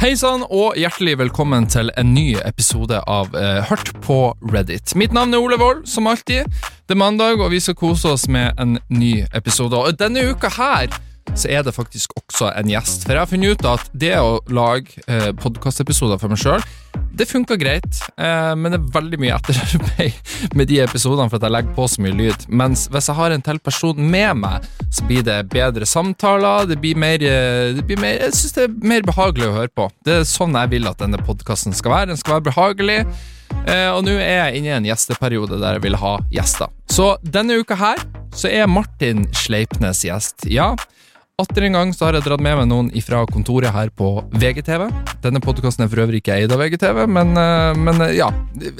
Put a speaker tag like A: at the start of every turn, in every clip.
A: Hei sann, og hjertelig velkommen til en ny episode av eh, Hørt på Reddit. Mitt navn er Ole Wold, som alltid. Det er mandag, og vi skal kose oss med en ny episode. Og denne uka her så er det faktisk også en gjest. For jeg har funnet ut at det å lage eh, podkastepisoder for meg sjøl, det funker greit. Eh, men det er veldig mye etterarbeid med de episodene for at jeg legger på så mye lyd. Mens hvis jeg har en til person med meg, så blir det bedre samtaler. Det blir mer, eh, det blir mer Jeg syns det er mer behagelig å høre på. Det er sånn jeg vil at denne podkasten skal være. Den skal være behagelig. Eh, og nå er jeg inne i en gjesteperiode der jeg vil ha gjester. Så denne uka her så er Martin Sleipnes gjest. Ja. Atter en gang så har jeg dratt med meg noen fra kontoret her på VGTV. Denne podkasten er for øvrig ikke eid av VGTV, men, eh, men eh, ja. Det,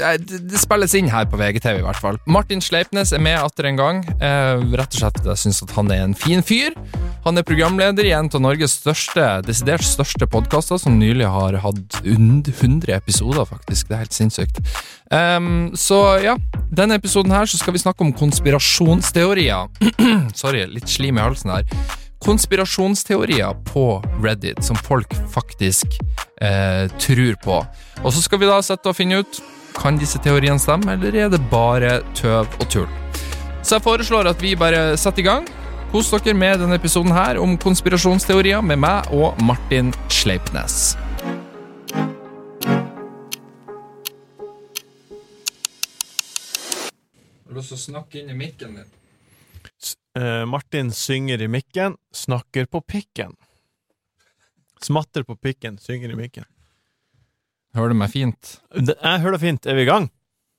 A: det spilles inn her på VGTV i hvert fall. Martin Sleipnes er med atter en gang. Eh, rett og slett fordi jeg syns at han er en fin fyr. Han er programleder i en av Norges største, desidert største podkaster, som nylig har hatt und- 100 episoder, faktisk. Det er helt sinnssykt. Ehm, så ja, denne episoden her så skal vi snakke om konspirasjonsteorier. Sorry, litt slim i halsen her. Konspirasjonsteorier på Reddit som folk faktisk eh, tror på. Og så skal vi da sette og finne ut kan disse teoriene stemme, eller er det bare tøv og tull. Så jeg foreslår at vi bare setter i gang. Kos dere med denne episoden her om konspirasjonsteorier med meg og Martin Sleipnes. Har du lyst til å snakke inn i mikken din?
B: S- eh, Martin synger i mikken, snakker på pikken. Smatter på pikken, synger i mikken.
A: Hører du meg fint?
B: Det, jeg hører det fint. Er vi i gang?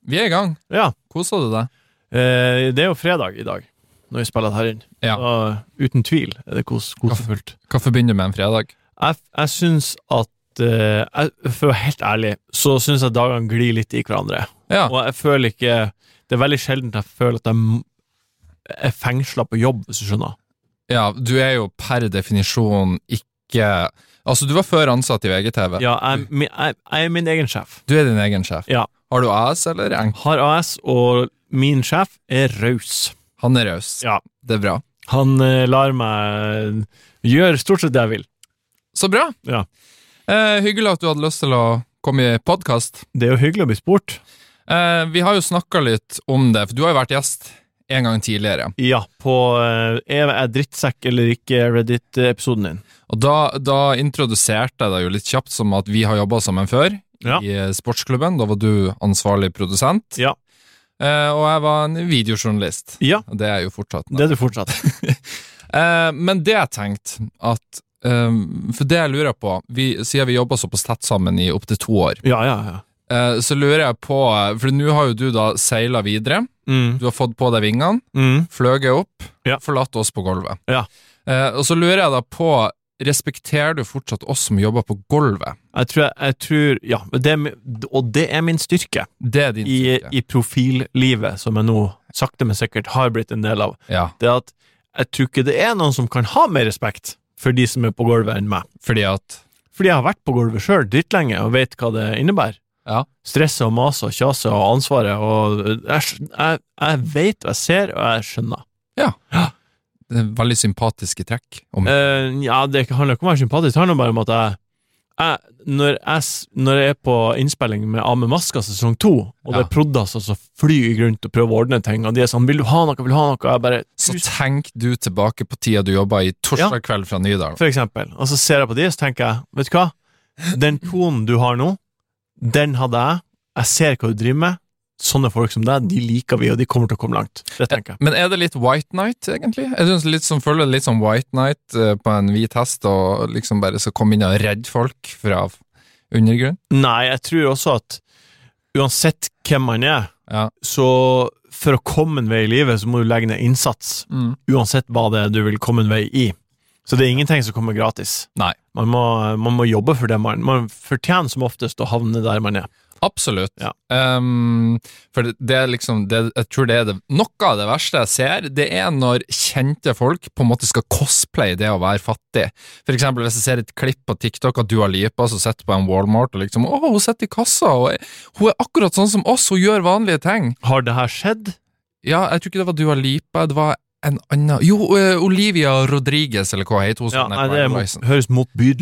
A: Vi er i gang.
B: Ja.
A: Koser du deg?
B: Eh, det er jo fredag i dag, når vi spiller det her inn.
A: Ja.
B: Og uten tvil er det kos, kosefullt.
A: Hva forbinder du med en fredag?
B: Jeg, f- jeg syns at eh, jeg, For å være helt ærlig, så syns jeg dagene glir litt i hverandre.
A: Ja.
B: Og jeg føler ikke Det er veldig sjelden jeg føler at jeg m- er fengsla på jobb, hvis du skjønner.
A: ja, du er jo per definisjon ikke Altså, du var før ansatt i VGTV.
B: Ja, jeg, er mi- jeg, jeg er min egen sjef.
A: Du er din egen sjef.
B: Ja.
A: Har du AS eller enk?
B: har AS, og min sjef er raus.
A: Han er raus.
B: Ja.
A: Det er bra.
B: Han eh, lar meg gjøre stort sett det jeg vil.
A: Så bra.
B: Ja.
A: Eh, hyggelig at du hadde lyst til å komme i podkast.
B: Det er jo hyggelig å bli spurt.
A: Eh, vi har jo snakka litt om det, for du har jo vært gjest en gang tidligere.
B: Ja, på eh, Er jeg drittsekk eller ikke Reddit-episoden din?
A: Og da, da introduserte jeg deg jo litt kjapt som at vi har jobba sammen før
B: Ja.
A: i eh, sportsklubben. Da var du ansvarlig produsent,
B: Ja.
A: eh, og jeg var en videojournalist.
B: Ja,
A: Og Det er jeg jo fortsatt. nå.
B: det er du fortsatt.
A: Eh, men det jeg tenkte at eh, For det jeg lurer på vi, Siden vi jobba såpass tett sammen i opptil to år,
B: Ja, ja, ja.
A: eh, så lurer jeg på eh, For nå har jo du da seila videre.
B: Mm,
A: Du har fått på deg vingene.
B: mm.
A: fløyet opp,
B: Ja.
A: forlatt oss på gulvet.
B: Ja.
A: Eh, og så lurer jeg da på, respekterer du fortsatt oss som jobber på gulvet?
B: Jeg tror, jeg tror Ja, det er, mi- og det er min styrke
A: Det er din
B: i,
A: styrke.
B: i profillivet, som jeg nå sakte, men sikkert har blitt en del av.
A: Ja,
B: Det er at jeg tror ikke det er noen som kan ha mer respekt for de som er på gulvet, enn meg.
A: fordi at
B: Fordi jeg har vært på gulvet sjøl drittlenge og vet hva det innebærer.
A: Ja.
B: Stresset og maset og kjaset og ansvaret og eh, jeg, skj- jeg, jeg vet og jeg ser og jeg skjønner.
A: det er veldig sympatiske trekk. Om,
B: Eh, ja, det handler ikke om å være sympatisk, det handler bare om at jeg, jeg, når, jeg s- når jeg er på innspilling med Av med maska sesong to, og det
A: Ja.
B: er proddas og så flyr rundt og prøver å ordne ting, og de er sånn 'Vil du ha noe? Vil du ha noe?' Jeg bare
A: så tenk du tilbake på tida du jobba i torsdag kveld fra Nydalen.
B: For eksempel. Og så ser jeg på de, og så tenker jeg Vet du hva? Den tonen du har nå, den hadde jeg. Jeg ser hva du driver med. Sånne folk som deg, de liker vi, og de kommer til å komme langt. Det tenker jeg.
A: Men er det litt White Night, egentlig? Jeg synes litt som føler det litt som White Night eh, på en hvit hest, og liksom bare skal komme inn og redde folk fra undergrunnen.
B: Eh, Nei, jeg tror også at uansett hvem man er,
A: Ja.
B: så for å komme en vei i livet, så må du legge ned innsats. Uansett hva det er du vil komme en vei i. Så det er ingenting som kommer gratis.
A: Nei.
B: Man må, man må jobbe for det man Man fortjener som oftest å havne der man er.
A: Absolutt.
B: Ja.
A: Ehm, for det, det er liksom det, Jeg tror det er det, noe av det verste jeg ser, det er når kjente folk på en måte skal cosplaye det å være fattig. For eksempel hvis jeg ser et klipp på TikTok av Dua Lipa som sitter på en Walmart og liksom Å, hun sitter i kassa, og er- hun er akkurat sånn som oss, hun gjør vanlige ting.
B: Har det her skjedd?
A: Ja, jeg tror ikke det var Dua Lipa, det var en annen Jo, eh, Olivia Rodriguez, eller hva heter hun?
B: Ja,
A: som er
B: nei,
A: på
B: det Sånn er,
A: Ever
B: mot-
A: Horizon?
B: høres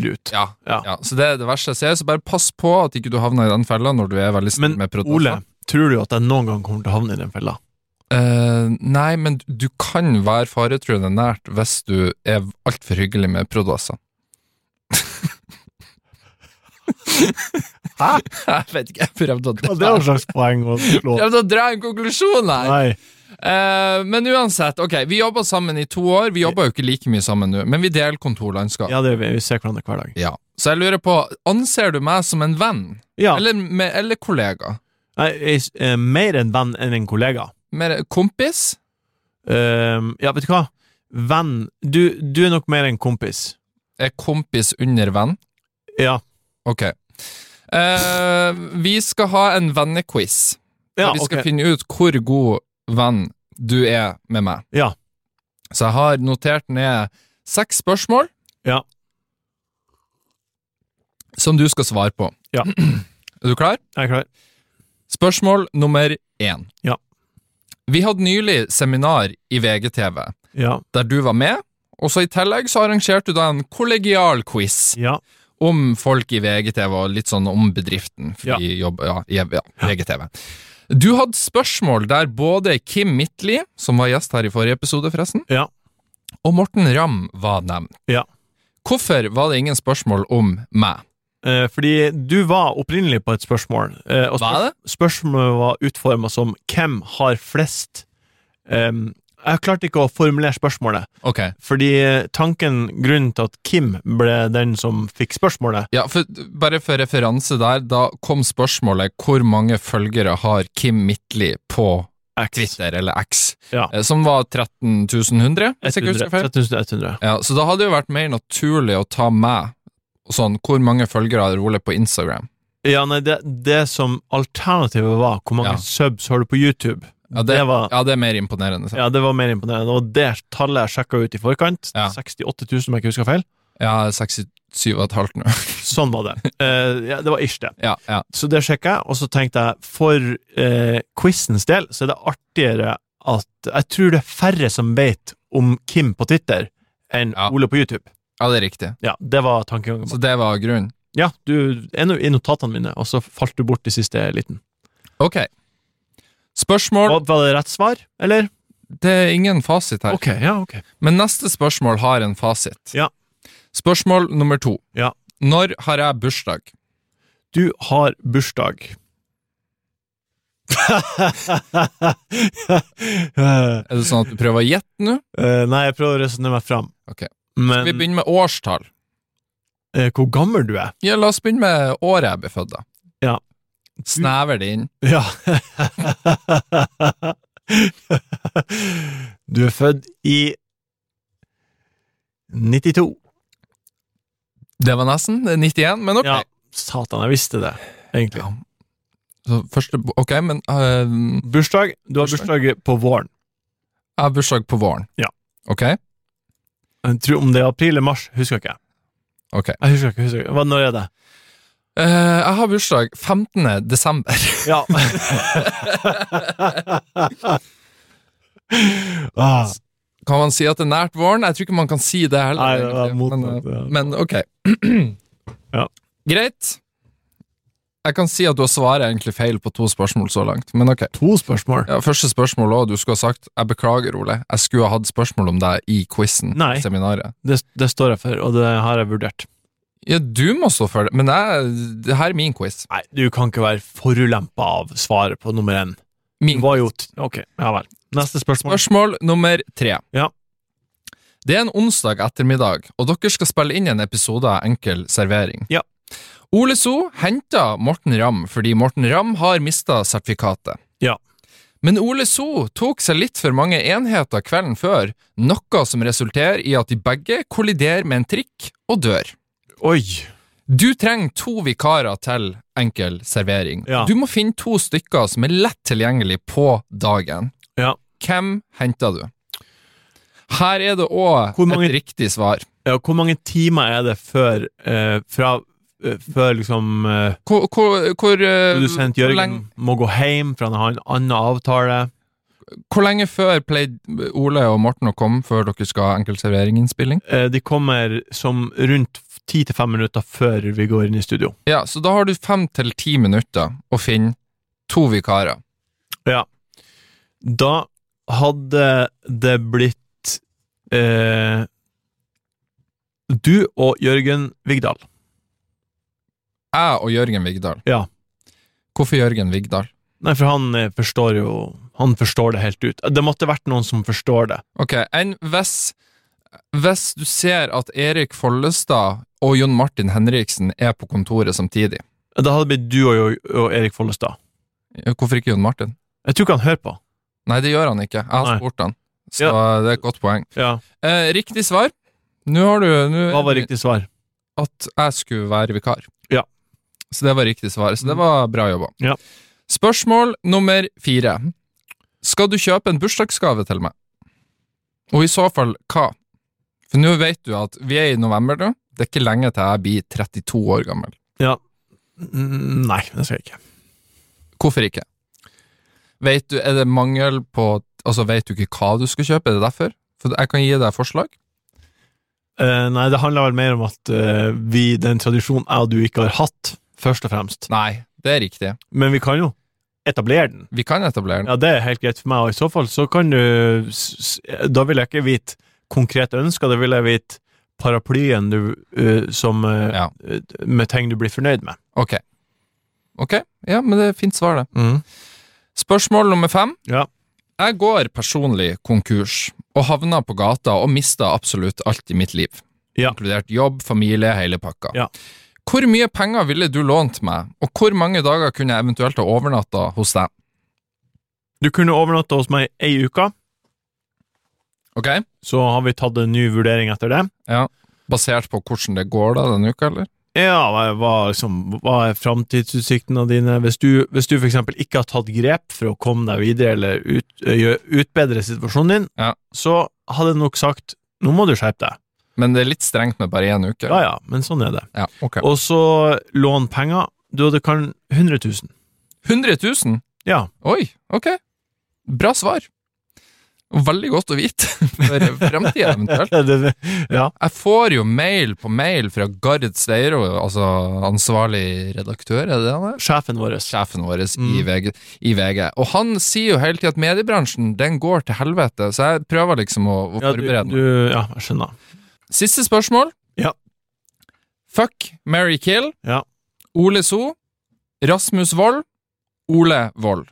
B: motbydelig ut.
A: ja,
B: Ja.
A: ja, så det er det verste jeg ser. Så bare pass på at ikke du havner i den fella når du er veldig snill
B: Men
A: med produsenten.
B: Ole, tror du at jeg noen gang kommer til å havne i den fella?
A: Eh, nei, men du- du kan være faretruende nært hvis du er altfor hyggelig med prod.asser.
B: Hæ?
A: Jeg vet ikke, jeg prøvde å
B: Ja, det er jo et slags poeng å slå.
A: prøvde å dra en konklusjon her!
B: Nei.
A: Eh, men uansett, ok, vi jobba sammen i to år. Vi jobber jo ikke like mye sammen nå, men vi deler kontorlandskap.
B: Ja, det, vi vi ser hverandre hver dag.
A: Ja. Så jeg lurer på, anser du meg som en venn?
B: Ja,
A: Eller, med, eller kollega?
B: jeg, jeg, er mer en venn enn en kollega.
A: Mer kompis?
B: Ehm, ja, vet du hva? Venn du, du er nok mer en kompis.
A: Er kompis under venn?
B: Ja.
A: Ok. Eh, vi skal ha en vennequiz.
B: Ja,
A: og vi skal
B: ok.
A: finne ut hvor god venn du er med meg.
B: Ja.
A: Så jeg har notert ned seks spørsmål
B: Ja.
A: som du skal svare på.
B: Ja.
A: Er du klar?
B: Jeg er klar.
A: Spørsmål nummer én.
B: Ja.
A: Vi hadde nylig seminar i VGTV,
B: Ja.
A: der du var med, og så i tillegg så arrangerte du da en kollegial quiz.
B: Ja.
A: om folk i VGTV og litt sånn om bedriften. For
B: Ja.
A: de jobber, ja, i ja, VGTV. Du hadde spørsmål der både Kim Midtli, som var gjest her i forrige episode, forresten,
B: Ja.
A: og Morten Ramm var nevnt.
B: Ja.
A: Hvorfor var det ingen spørsmål om meg?
B: Eh, fordi du var opprinnelig på et spørsmål, eh, og
A: Var det?
B: spørsmålet var utforma som 'Hvem har flest?' Ehm, jeg klarte ikke å formulere spørsmålet,
A: Ok.
B: fordi tanken, grunnen til at Kim ble den som fikk spørsmålet
A: Ja, for, bare for referanse der, da kom spørsmålet hvor mange følgere har Kim Midtli på
B: X.
A: Twitter, eller X,
B: Ja.
A: eh, som var 13 100, hvis jeg ikke
B: 100,
A: husker feil.
B: 3100.
A: Ja, så da hadde det jo vært mer naturlig å ta meg og sånn, hvor mange følgere har Ole på Instagram?
B: Ja, nei, det, det som alternativet var, hvor mange
A: Ja.
B: subs har du på YouTube,
A: Ja,
B: det, var,
A: Ja, det er mer imponerende. sant?
B: ja, det var mer imponerende. Og det tallet jeg sjekka ut i forkant,
A: Ja.
B: 68 000 om jeg ikke husker feil,
A: Ja, 67,5 nå.
B: sånn var det. Eh, ja, det var ish, det.
A: Ja, ja.
B: Så det sjekka jeg, og så tenkte jeg for eh, quizens del så er det artigere at Jeg tror det er færre som vet om Kim på Twitter enn
A: Ja.
B: Ole på YouTube.
A: ja, det er riktig.
B: Ja, det var tankegangen.
A: Så det var grunnen.
B: Ja, du er nå i notatene mine, og så falt du bort i siste liten.
A: Ok. Spørsmål
B: Var, var det rett svar, eller?
A: Det er ingen fasit her,
B: Ok, ja, ok.
A: men neste spørsmål har en fasit.
B: Ja.
A: Spørsmål nummer to.
B: Ja.
A: Når har jeg bursdag?
B: Du har bursdag. Eh,
A: Er det sånn at du prøver å gjette nå?
B: Eh, nei, jeg prøver å resonnere meg fram.
A: Ok.
B: Men
A: Vi begynner med årstall.
B: eh, hvor gammel du er
A: Ja, la oss begynne med året jeg ble født, da.
B: Ja.
A: Snever det inn?
B: Ja. du er født i 92.
A: Det var nesten. Det er 91, men ok.
B: Ja, satan, jeg visste det, egentlig.
A: Ja. Så første, ok, men øh,
B: Bursdag. Du har
A: Bursdag.
B: bursdag på våren.
A: jeg har bursdag på våren.
B: Ja.
A: Ok?
B: Jeg tror om det er april eller mars, husker jeg ikke.
A: Ok.
B: Jeg husker ikke, husker ikke. Hva, når er det?
A: Eh, jeg har bursdag 15. desember.
B: Ja. ah,
A: Kan man si at det er nært våren? Jeg tror ikke man kan si det heller.
B: nei, det var
A: egentlig,
B: mot
A: men, øh, men ok.
B: Ja.
A: Greit. Jeg kan si at du har svaret egentlig feil på to spørsmål så langt, men ok.
B: To spørsmål.
A: Ja, første spørsmål også, du skulle ha sagt Jeg beklager, Ole, jeg skulle ha hatt spørsmål om deg i quizen.
B: Nei.
A: Seminaret.
B: Det, det står jeg for, og det har jeg vurdert.
A: Ja, du må stå for det, men jeg, det her er min quiz.
B: Nei, du kan ikke være forulempa av svaret på nummer én.
A: Min
B: Det var jo t- Ok, ja vel. Neste spørsmål.
A: Spørsmål nummer tre.
B: Ja.
A: Det er en onsdag ettermiddag, og dere skal spille inn en episode av Enkel servering.
B: Ja.
A: Ole So henter Morten Ramm fordi Morten Ramm har mista sertifikatet.
B: Ja.
A: Men Ole So tok seg litt for mange enheter kvelden før, noe som resulterer i at de begge kolliderer med en trikk og dør.
B: Oi!
A: Du trenger to vikarer til enkel servering.
B: Ja.
A: Du må finne to stykker som er lett tilgjengelig på dagen.
B: Ja.
A: Hvem henter du? Her er det òg
B: Hvor mange-
A: et riktig svar.
B: Ja, hvor mange timer er det før eh, fra eh, Før liksom eh,
A: Hvor, hvor, hvor eh,
B: produsent
A: hvor
B: Jørgen
A: lenge-
B: må gå hjem for han har en annen avtale.
A: Hvor lenge før pleide Ole og Morten å komme før dere skal ha enkeltserveringinnspilling?
B: Eh, De kommer som rundt 10-5 minutter før vi går inn i studio.
A: Ja, så da har du fem til ti minutter å finne to vikarer.
B: Da hadde det blitt eh, du og Jørgen Vigdal.
A: Jeg og Jørgen Vigdal.
B: Ja.
A: Hvorfor Jørgen Vigdal?
B: Nei, for han eh, forstår jo Han forstår det helt ut. Det måtte vært noen som forstår det.
A: Ok, enn hvis, hvis du ser at Erik Follestad og Jon Martin Henriksen er på kontoret samtidig.
B: Da hadde det blitt du og, og Erik Follestad.
A: Hvorfor ikke Jon Martin?
B: Jeg tror ikke han hører på.
A: Nei, det gjør han ikke. Jeg
B: Nei.
A: har spurt han. Så det er et godt poeng.
B: Ja.
A: Eh, riktig svar. Nå har du nå-
B: Hva var riktig svar?
A: at jeg skulle være vikar.
B: Ja.
A: Så det var riktig svar. Så det var bra jobba.
B: Ja.
A: Spørsmål nummer fire. Skal du kjøpe en bursdagsgave til meg? Og i så fall, hva? For nå vet du at vi er i november, da. Det er ikke lenge til jeg blir 32 år gammel.
B: Mm, Nei, det skal jeg ikke.
A: Hvorfor ikke? Vet du, er det mangel på Altså, vet du ikke hva du skal kjøpe? Er det derfor? For jeg kan gi deg forslag.
B: Eh, nei, det handler vel mer om at eh, vi, den tradisjonen jeg og du ikke har hatt, først og fremst.
A: Nei, det er riktig.
B: Men vi kan jo etablere den.
A: Vi kan etablere den.
B: Ja, det er helt greit for meg, og i så fall så kan du s- s- Da vil jeg ikke vite konkrete ønsker, da vil jeg vite paraplyen du eh, som eh,
A: Ja.
B: eh, Med ting du blir fornøyd med.
A: Ok. Ok, ja, men det er fint svar, det.
B: Mm.
A: Spørsmål nummer fem.
B: Ja.
A: Jeg går personlig konkurs og havner på gata og mister absolutt alt i mitt liv.
B: Ja.
A: Inkludert jobb, familie, hele pakka.
B: Ja.
A: Hvor mye penger ville du lånt meg, og hvor mange dager kunne jeg eventuelt ha overnatta hos deg?
B: Du kunne overnatte hos meg ei uke,
A: Ok?
B: så har vi tatt en ny vurdering etter det.
A: Basert på hvordan det går da denne uka, eller?
B: Ja, hva- hva, liksom, hva er framtidsutsiktene dine? Hvis du, hvis du for eksempel ikke har tatt grep for å komme deg videre eller ut, eh, gjø- utbedre situasjonen din,
A: Ja.
B: så hadde jeg nok sagt nå må du skjerpe deg.
A: Men det er litt strengt med bare én uke.
B: Ja ja, men sånn er det.
A: Ja, ok.
B: Og så lån penger. Du hadde kan 100 000.
A: 100 000?
B: Ja.
A: Oi, ok. Bra svar. Veldig godt å vite for fremtida, eventuelt.
B: ja.
A: Jeg får jo mail på mail fra Gard Steiro, altså ansvarlig redaktør, er det det han er?
B: Sjefen vår.
A: Sjefen vår i,
B: Mm.
A: VG, i VG. Og han sier jo hele tiden at mediebransjen, den går til helvete, så jeg prøver liksom å, å
B: Ja, du,
A: forberede meg.
B: du, ja, jeg skjønner.
A: Siste spørsmål.
B: Ja.
A: Fuck, Mary Kill,
B: Ja.
A: Ole So, Rasmus Wold, Ole Wold.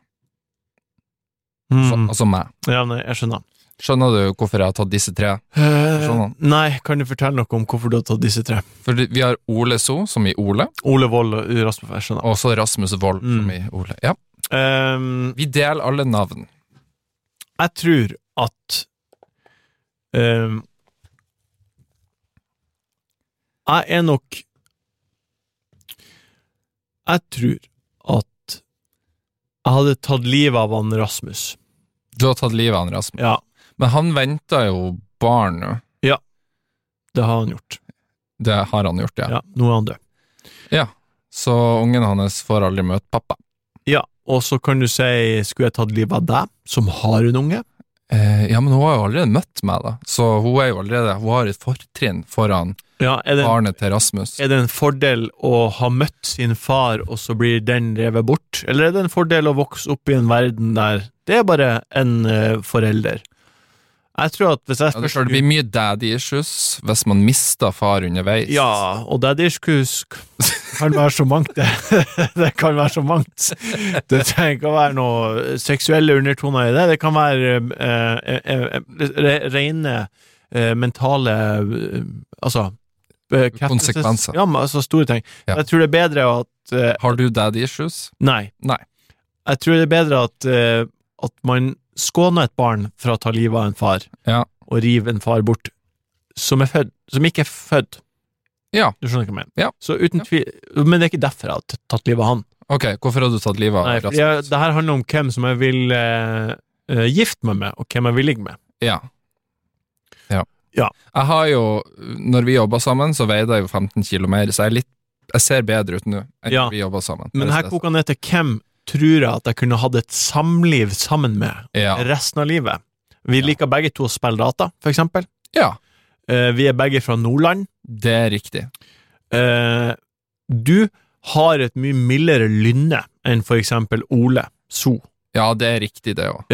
A: Så-
B: Mm.
A: Altså meg.
B: Ja, nei, jeg skjønner.
A: Skjønner du hvorfor jeg har tatt disse tre?
B: Eh,
A: Skjønner.
B: nei, kan du fortelle noe om hvorfor du har tatt disse tre?
A: For vi har Ole So, som i Ole,
B: Ole Wold og Rasmus, jeg skjønner.
A: og så Rasmus Wold, som
B: Mm.
A: i Ole. Ja.
B: Um,
A: Vi deler alle navn.
B: Jeg tror at ehm, Jeg er nok Jeg tror at jeg hadde tatt livet av han Rasmus.
A: Du har tatt livet av han, Rasmus.
B: Ja,
A: Men han venter jo barn nå.
B: det har han gjort.
A: Det har han gjort, ja.
B: Ja, nå er han død.
A: Så ungen hans får aldri møte pappa.
B: Ja, og så kan du si Skulle jeg tatt livet av deg, som har en unge?
A: Eh, ja, men hun har jo allerede møtt meg, da. Så hun er jo allerede Hun har et fortrinn foran
B: Ja, er det,
A: barnet til Rasmus.
B: er det en fordel å ha møtt sin far, og så blir den revet bort? Eller er det en fordel å vokse opp i en verden der det er bare en eh, forelder? Jeg tror at hvis jeg
A: Ja, det, det blir mye daddy issues hvis man mister far underveis.
B: Ja, og daddyiskus kan være så mangt, det. det kan være så mangt. Det trenger ikke å være noe seksuelle undertoner i det. Det kan være eh, eh, eh, re- rene eh, mentale eh, Altså bekreftelses-
A: Konsekvenser.
B: Ja, men altså store ting.
A: Ja.
B: Jeg tror det er bedre at eh,
A: Har du daddy issues?
B: Nei.
A: Nei.
B: Jeg tror det er bedre at, eh, at man skåner et barn fra å ta livet av en far,
A: Ja.
B: og rive en far bort, som, er født, som ikke er født.
A: Ja.
B: Du skjønner hva jeg mener.
A: Ja.
B: Så uten
A: Ja.
B: tvil, men det er ikke derfor jeg har t- tatt livet av han.
A: Ok, hvorfor har du tatt livet av
B: Nei, fordi
A: Rasmus?
B: jeg, det her handler om hvem som jeg vil eh, eh, gifte meg med, og hvem jeg vil ligge med.
A: Ja. ja.
B: Ja.
A: Jeg har jo, når vi jobber sammen, så veide jeg jo 15 kilo mer, så jeg er litt Jeg ser bedre ut nå enn
B: Ja.
A: når vi jobber sammen.
B: Men
A: Bare
B: her
A: så det er
B: koker han ned til hvem tror jeg at jeg kunne hatt et samliv sammen med
A: Ja.
B: resten av livet. Vi liker begge to å spille data, for eksempel.
A: ja,
B: Eh, vi er begge fra Nordland.
A: det er riktig.
B: Eh, du har et mye mildere lynne enn for eksempel Ole So.
A: Ja, det er riktig, det òg.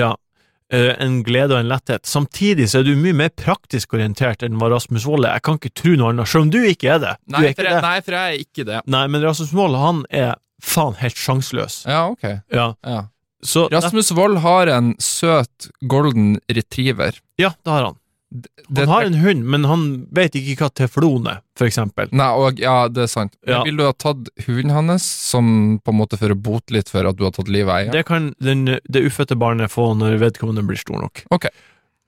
B: Eh, en glede og en letthet. Samtidig så er du mye mer praktisk orientert enn hva Rasmus Wold er. Jeg kan ikke tro noe annet, selv om du ikke er det.
A: Nei,
B: du er
A: for
B: ikke
A: jeg-
B: det.
A: nei, for jeg er ikke det.
B: Nei, men Rasmus Wold, han er faen helt sjanseløs.
A: Ja, ok.
B: Ja.
A: Ja.
B: Så
A: Rasmus Wold har en søt golden retriever.
B: Ja, det har han.
A: Det-
B: Han har en hund, men han vet ikke hva teflon er, for eksempel.
A: Nei, og, ja, det er sant. Men
B: Ja.
A: Vil du ha tatt hunden hans, som på en måte for å bote litt for at du har tatt livet av eieren?
B: Det kan den, det ufødte barnet få når vedkommende blir stor nok.
A: Ok.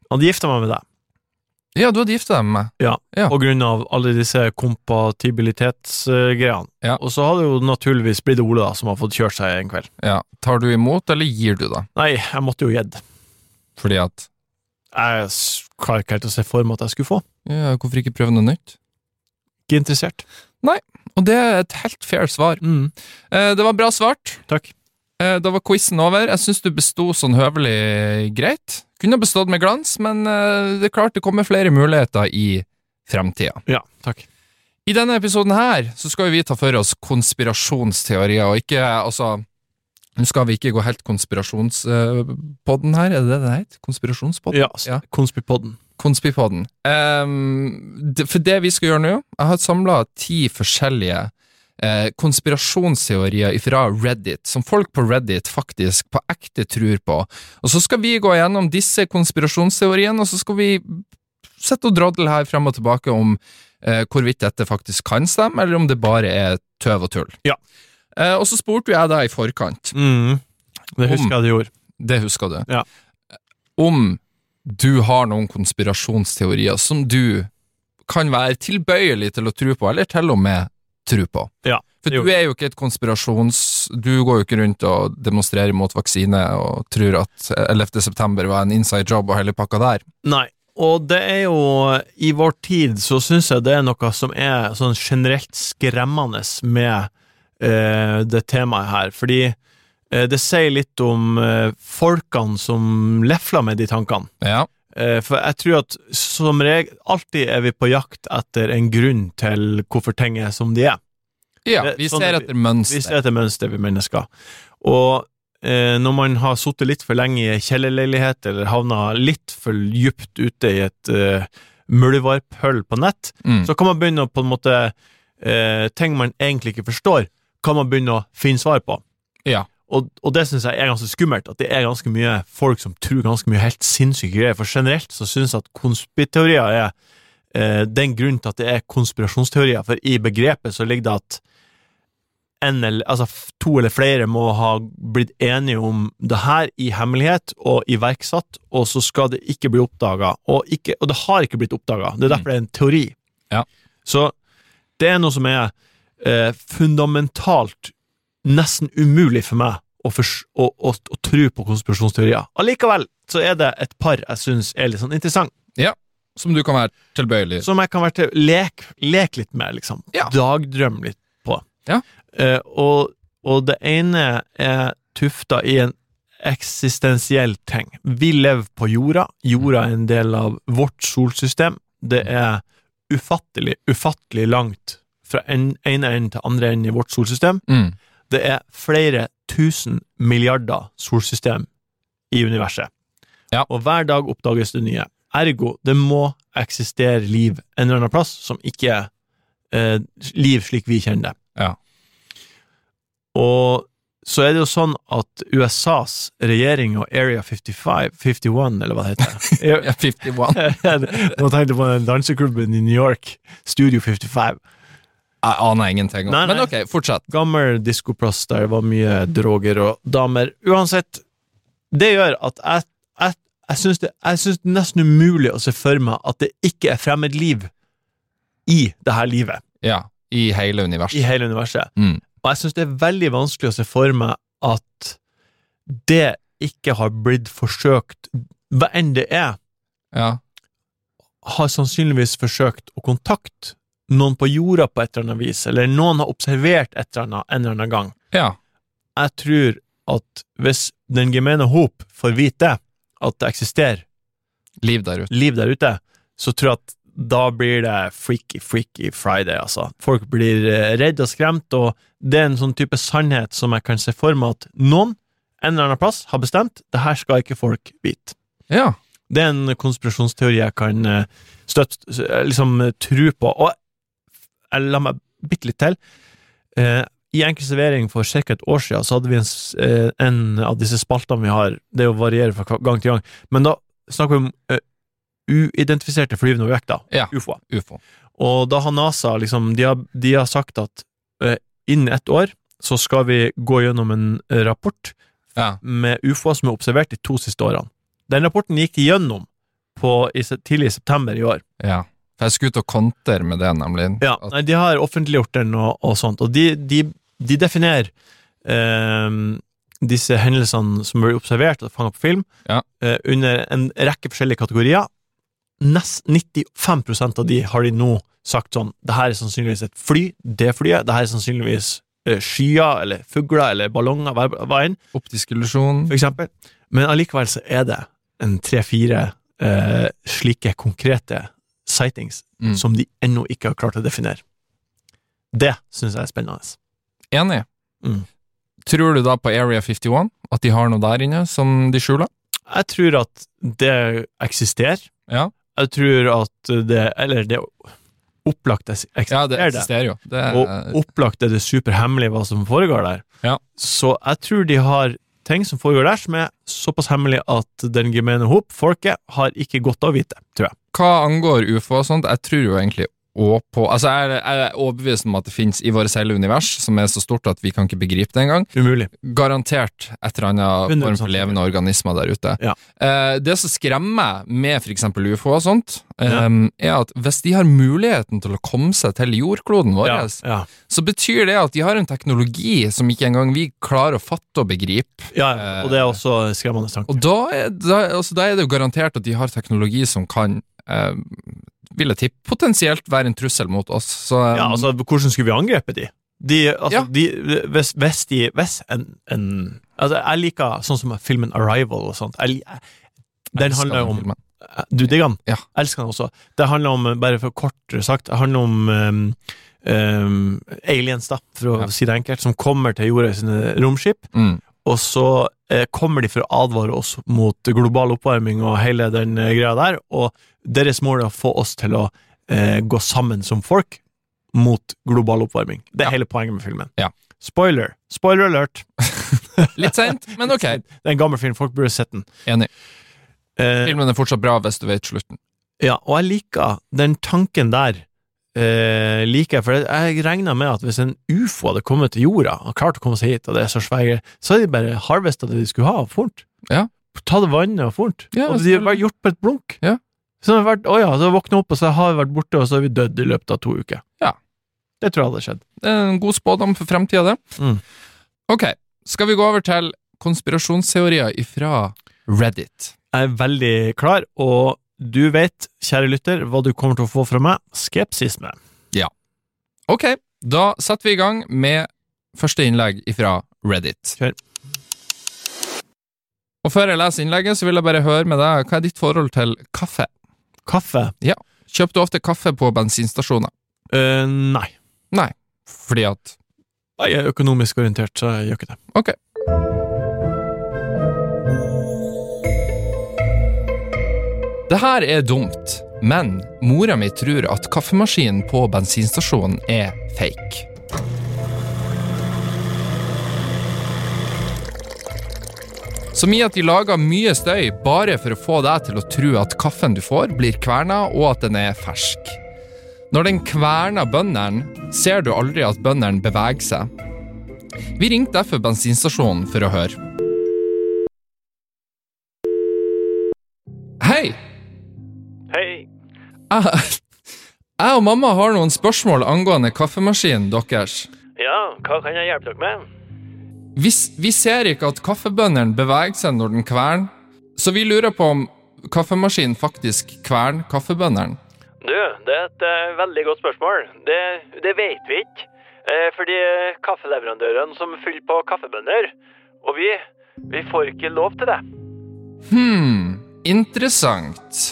B: Han gifta meg med deg,
A: Ja, du hadde gifta deg med meg. Ja.
B: på grunn av alle disse kompatibilitetsgreiene.
A: Ja.
B: Og så har det jo naturligvis blitt Ole, da, som har fått kjørt seg en kveld.
A: Ja. Tar du imot, eller gir du, da?
B: Nei, jeg måtte jo gjedd.
A: Fordi at
B: Jeg s- klarer ikke helt å se for meg at jeg skulle få.
A: ja, Hvorfor ikke prøve noe nytt?
B: Ikke interessert.
A: Og det er et helt fair svar.
B: Mm.
A: Eh, det var bra svart.
B: Takk.
A: Eh, da var quizen over. Jeg syns du besto sånn høvelig greit. Kunne ha bestått med glans, men eh, det er klart det kommer flere muligheter i fremtida.
B: Ja, takk.
A: I denne episoden her så skal jo vi ta for oss konspirasjonsteorier, og ikke altså Nå skal vi ikke gå helt konspirasjonspodden her, er det det det heter? Konspirasjonspodden?
B: Ja, s-
A: Ja.
B: Konspipodden.
A: Konspipodden. Ehm, det, for det vi skal gjøre nå Jeg har samla ti forskjellige eh, konspirasjonsteorier fra Reddit, som folk på Reddit faktisk på ekte tror på. Og så skal vi gå gjennom disse konspirasjonsteoriene, og så skal vi sette og drodle her frem og tilbake om eh, hvorvidt dette faktisk kan stemme, eller om det bare er tøv og tull.
B: Ja.
A: Eh, og så spurte jo jeg deg i forkant
B: Mm. Det
A: Om-
B: husker jeg du gjorde.
A: det husker du.
B: Ja.
A: Om du har noen konspirasjonsteorier som du kan være tilbøyelig til å tro på, eller til og med tro på.
B: Ja,
A: For
B: det
A: du er jo ikke et konspirasjons... Du går jo ikke rundt og demonstrerer mot vaksine og tror at 11. september var en inside job og hele pakka der.
B: Nei, og det er jo I vår tid så syns jeg det er noe som er sånn generelt skremmende med eh, det temaet her, fordi eh, det sier litt om eh, folkene som lefler med de tankene.
A: Ja,
B: Eh, for jeg tror at som regel alltid er vi på jakt etter en grunn til hvorfor ting er som de er.
A: ja
B: Det-
A: vi
B: sånn
A: ser
B: er vi-
A: etter
B: Vi
A: mønster.
B: ser etter mønster, vi mennesker. Og eh, når man har sittet litt for lenge i en kjellerleilighet, eller havna litt for djupt ute i et eh, muldvarphull på nett,
A: Mm.
B: så kan man begynne å på en måte eh, Ting man egentlig ikke forstår, kan man begynne å finne svar på.
A: Ja.
B: Og, og det syns jeg er ganske skummelt, at det er ganske mye folk som tror ganske mye helt sinnssyke greier. For generelt så syns jeg at konspiteorier er eh, den grunnen til at det er konspirasjonsteorier, for i begrepet så ligger det at en eller, altså f- to eller flere må ha blitt enige om det her i hemmelighet og iverksatt, og så skal det ikke bli oppdaga. Og, ikke- og det har ikke blitt oppdaga.
A: Mm.
B: Det er derfor det er en teori.
A: Ja.
B: Så det er noe som er eh, fundamentalt nesten umulig for meg å, fors- å, å, å tro på konspirasjonsteorier. Allikevel så er det et par jeg syns er litt sånn interessant,
A: Som du kan være tilbøyelig
B: som jeg kan være til lek, lek litt med, liksom.
A: Ja.
B: Dagdrøm litt på.
A: Ja.
B: Eh, og, og det ene er tufta i en eksistensiell ting. Vi lever på jorda. Jorda er en del av vårt solsystem. Det er ufattelig, ufattelig langt fra en, ene enden til andre enden i vårt solsystem.
A: mm.
B: Det er flere tusen milliarder solsystem i universet.
A: Ja.
B: Og hver dag oppdages det nye. Ergo, det må eksistere liv en eller annen plass som ikke er eh, liv slik vi kjenner det.
A: Ja.
B: Og så er det jo sånn at USAs regjering og Area 55, 51, eller hva det heter
A: ja, 51.
B: Nå tenkte jeg på den danseklubben i New York, Studio 55.
A: Jeg aner ingenting om
B: Nei, nei.
A: Men ok, fortsett.
B: gammel diskoplass der det var mye droger og damer. Uansett, det gjør at jeg, jeg, jeg syns det, jeg syns det er nesten umulig å se for meg at det ikke er fremmed liv i det her livet,
A: Ja, i hele
B: i
A: universet.
B: hele universet.
A: Mm.
B: Og jeg syns det er veldig vanskelig å se for meg at det ikke har blitt forsøkt, hva enn det er,
A: Ja.
B: har sannsynligvis forsøkt å kontakte noen på jorda på et eller annet vis, eller noen har observert et eller annet en eller annen gang.
A: ja.
B: jeg tror at hvis den gemene hop får vite at det eksisterer
A: Liv der ute.
B: liv der ute, så tror jeg at da blir det freaky, freaky Friday, altså. Folk blir eh, redd og skremt, og det er en sånn type sannhet som jeg kan se for meg at noen, en eller annen plass, har bestemt, det her skal ikke folk vite.
A: Ja.
B: Det er en konspirasjonsteori jeg kan eh, støtt, s- eh, liksom eh, tro på, og jeg la meg bitte litt til. Eh, I enkel servering for ca. et år siden så hadde vi en, s- eh, en av disse spaltene vi har, det er jo varierer fra kva- gang til gang, men da snakker vi om eh, uidentifiserte flyvende objekter,
A: Ja.
B: UFO.
A: Ufo.
B: Og da har NASA liksom, de har, de har sagt at eh, innen ett år så skal vi gå gjennom en eh, rapport
A: Ja.
B: med ufoer som er observert de to siste årene. Den rapporten gikk de gjennom på, i, se- tidlig i september i år.
A: ja. For jeg skulle ut og kontre med det, nemlig.
B: Ja,
A: At,
B: nei, de har offentliggjort den og, og sånt, og de, de, de definerer ehm, disse hendelsene som blir observert og fanget på film,
A: Ja.
B: eh, under en rekke forskjellige kategorier. Nest 95 av de har de nå sagt sånn, det her er sannsynligvis et fly, det flyet, det her er sannsynligvis eh, skyer, eller fugler, eller ballonger, hva hva enn,
A: optisk illusjon.
B: for eksempel. Men allikevel så er det en 3-4 eh, slike konkrete sightings
A: Mm.
B: som de ennå ikke har klart å definere. Det syns jeg er spennende.
A: Enig.
B: Mm.
A: Tror du da på Area 51 at de har noe der inne som de skjuler?
B: Jeg tror at det eksisterer.
A: Ja.
B: Jeg tror at det Eller det opplagt eks-
A: Ja, det
B: eksisterer, det.
A: eksisterer jo. Det er,
B: Og opplagt er det superhemmelig hva som foregår der.
A: Ja.
B: Så jeg tror de har ting som foregår der, som er såpass hemmelig at den gemene hop, folket, har ikke godt av å vite, tror jeg.
A: hva angår ufo og sånt, jeg tror jo egentlig også på Altså, jeg er, jeg er overbevist om at det finnes i vårt hele univers, som er så stort at vi kan ikke begripe det engang.
B: Umulig.
A: Garantert et eller annet form
B: 100%
A: for levende organismer der ute.
B: Ja.
A: Eh, det som skremmer meg med for eksempel ufo og sånt, eh,
B: Ja.
A: er at hvis de har muligheten til å komme seg til jordkloden vår,
B: Ja, ja.
A: så betyr det at de har en teknologi som ikke engang vi klarer å fatte og begripe.
B: ja, ja. Og det er også en skremmende
A: Eh,
B: tanke.
A: Og da er, da, altså, da er det jo garantert at de har teknologi som kan eh, vil jeg tippe, potensielt være en trussel mot oss. Så, eh,
B: Ja, altså, hvordan skulle vi angrepe de? De, altså,
A: Ja.
B: de hvis, hvis de Hvis en, en Altså, jeg liker sånn som filmen Arrival og sånt. Jeg, li- den
A: elsker
B: handler om Eh,
A: filmen.
B: Du digger den?
A: Ja.
B: Elsker den også. Det handler om, bare for kort sagt, det handler om um, um, aliens, da, for å
A: Ja.
B: si det enkelt, som kommer til jorda i sine romskip,
A: Mm.
B: og så eh, kommer de for å advare oss mot global oppvarming og hele den eh, greia der, og deres mål er å få oss til å eh, gå sammen som folk mot global oppvarming. Det
A: Ja.
B: er hele poenget med filmen.
A: Ja.
B: Spoiler! Spoiler alert!
A: Litt seint, men ok.
B: Det er en gammel film, folk burde sett den.
A: Enig.
B: Eh,
A: Filmen er fortsatt bra hvis du vet slutten.
B: Ja, og jeg liker den tanken der. Eh, liker jeg, for jeg regner med at hvis en ufo hadde kommet til jorda og klart å komme seg hit, og det er så svære, så hadde de bare harvesta det de skulle ha, og fort.
A: Ja.
B: Ta det vannet og fort.
A: Ja,
B: og
A: så-
B: de hadde bare gjort på et blunk.
A: Ja.
B: Så hadde det vært, å ja, så våkna opp, og så har vi vært borte, og så er vi dødd i løpet av to uker.
A: Ja.
B: Det tror jeg hadde skjedd.
A: Det er en god spådom for fremtida, det.
B: Mm.
A: Ok, skal vi gå over til konspirasjonsteorier ifra Reddit?
B: Jeg er veldig klar, og du vet, kjære lytter, hva du kommer til å få fra meg. Skepsisme.
A: Ok, da setter vi i gang med første innlegg ifra Reddit.
B: Kjør.
A: Og før jeg leser innlegget, så vil jeg bare høre med deg, hva er ditt forhold til kaffe?
B: Kaffe?
A: Kjøper du ofte kaffe på bensinstasjoner?
B: Eh, nei.
A: Fordi at
B: Jeg er økonomisk orientert, så jeg gjør ikke det.
A: Det her er dumt, men mora mi tror at kaffemaskinen på bensinstasjonen er fake. Som i at de lager mye støy bare for å få deg til å tro at kaffen du får, blir kverna, og at den er fersk. Når den kverner bøndene, ser du aldri at bøndene beveger seg. Vi ringte derfor bensinstasjonen for å høre. Hei!
C: Hei.
A: Jeg, jeg og mamma har noen spørsmål angående kaffemaskinen deres.
C: Ja, hva kan jeg hjelpe dere med?
A: Vi, s- vi ser ikke at kaffebøndene beveger seg når den kverner, så vi lurer på om kaffemaskinen faktisk kverner kaffebøndene.
C: Du, det er et eh, veldig godt spørsmål. Det, det vet vi ikke. Eh, fordi kaffeleverandøren som fyller på kaffebønner, Og vi, vi får ikke lov til det.
A: Hmm, interessant.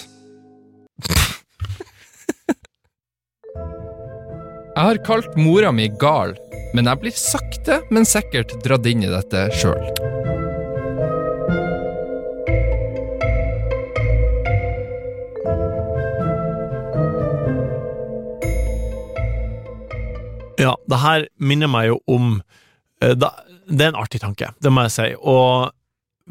A: Jeg har kalt mora mi gal, men jeg blir sakte, men sikkert dratt inn i dette sjøl.
B: Ja, det her minner meg jo om eh, da, Det er en artig tanke, det må jeg si. Og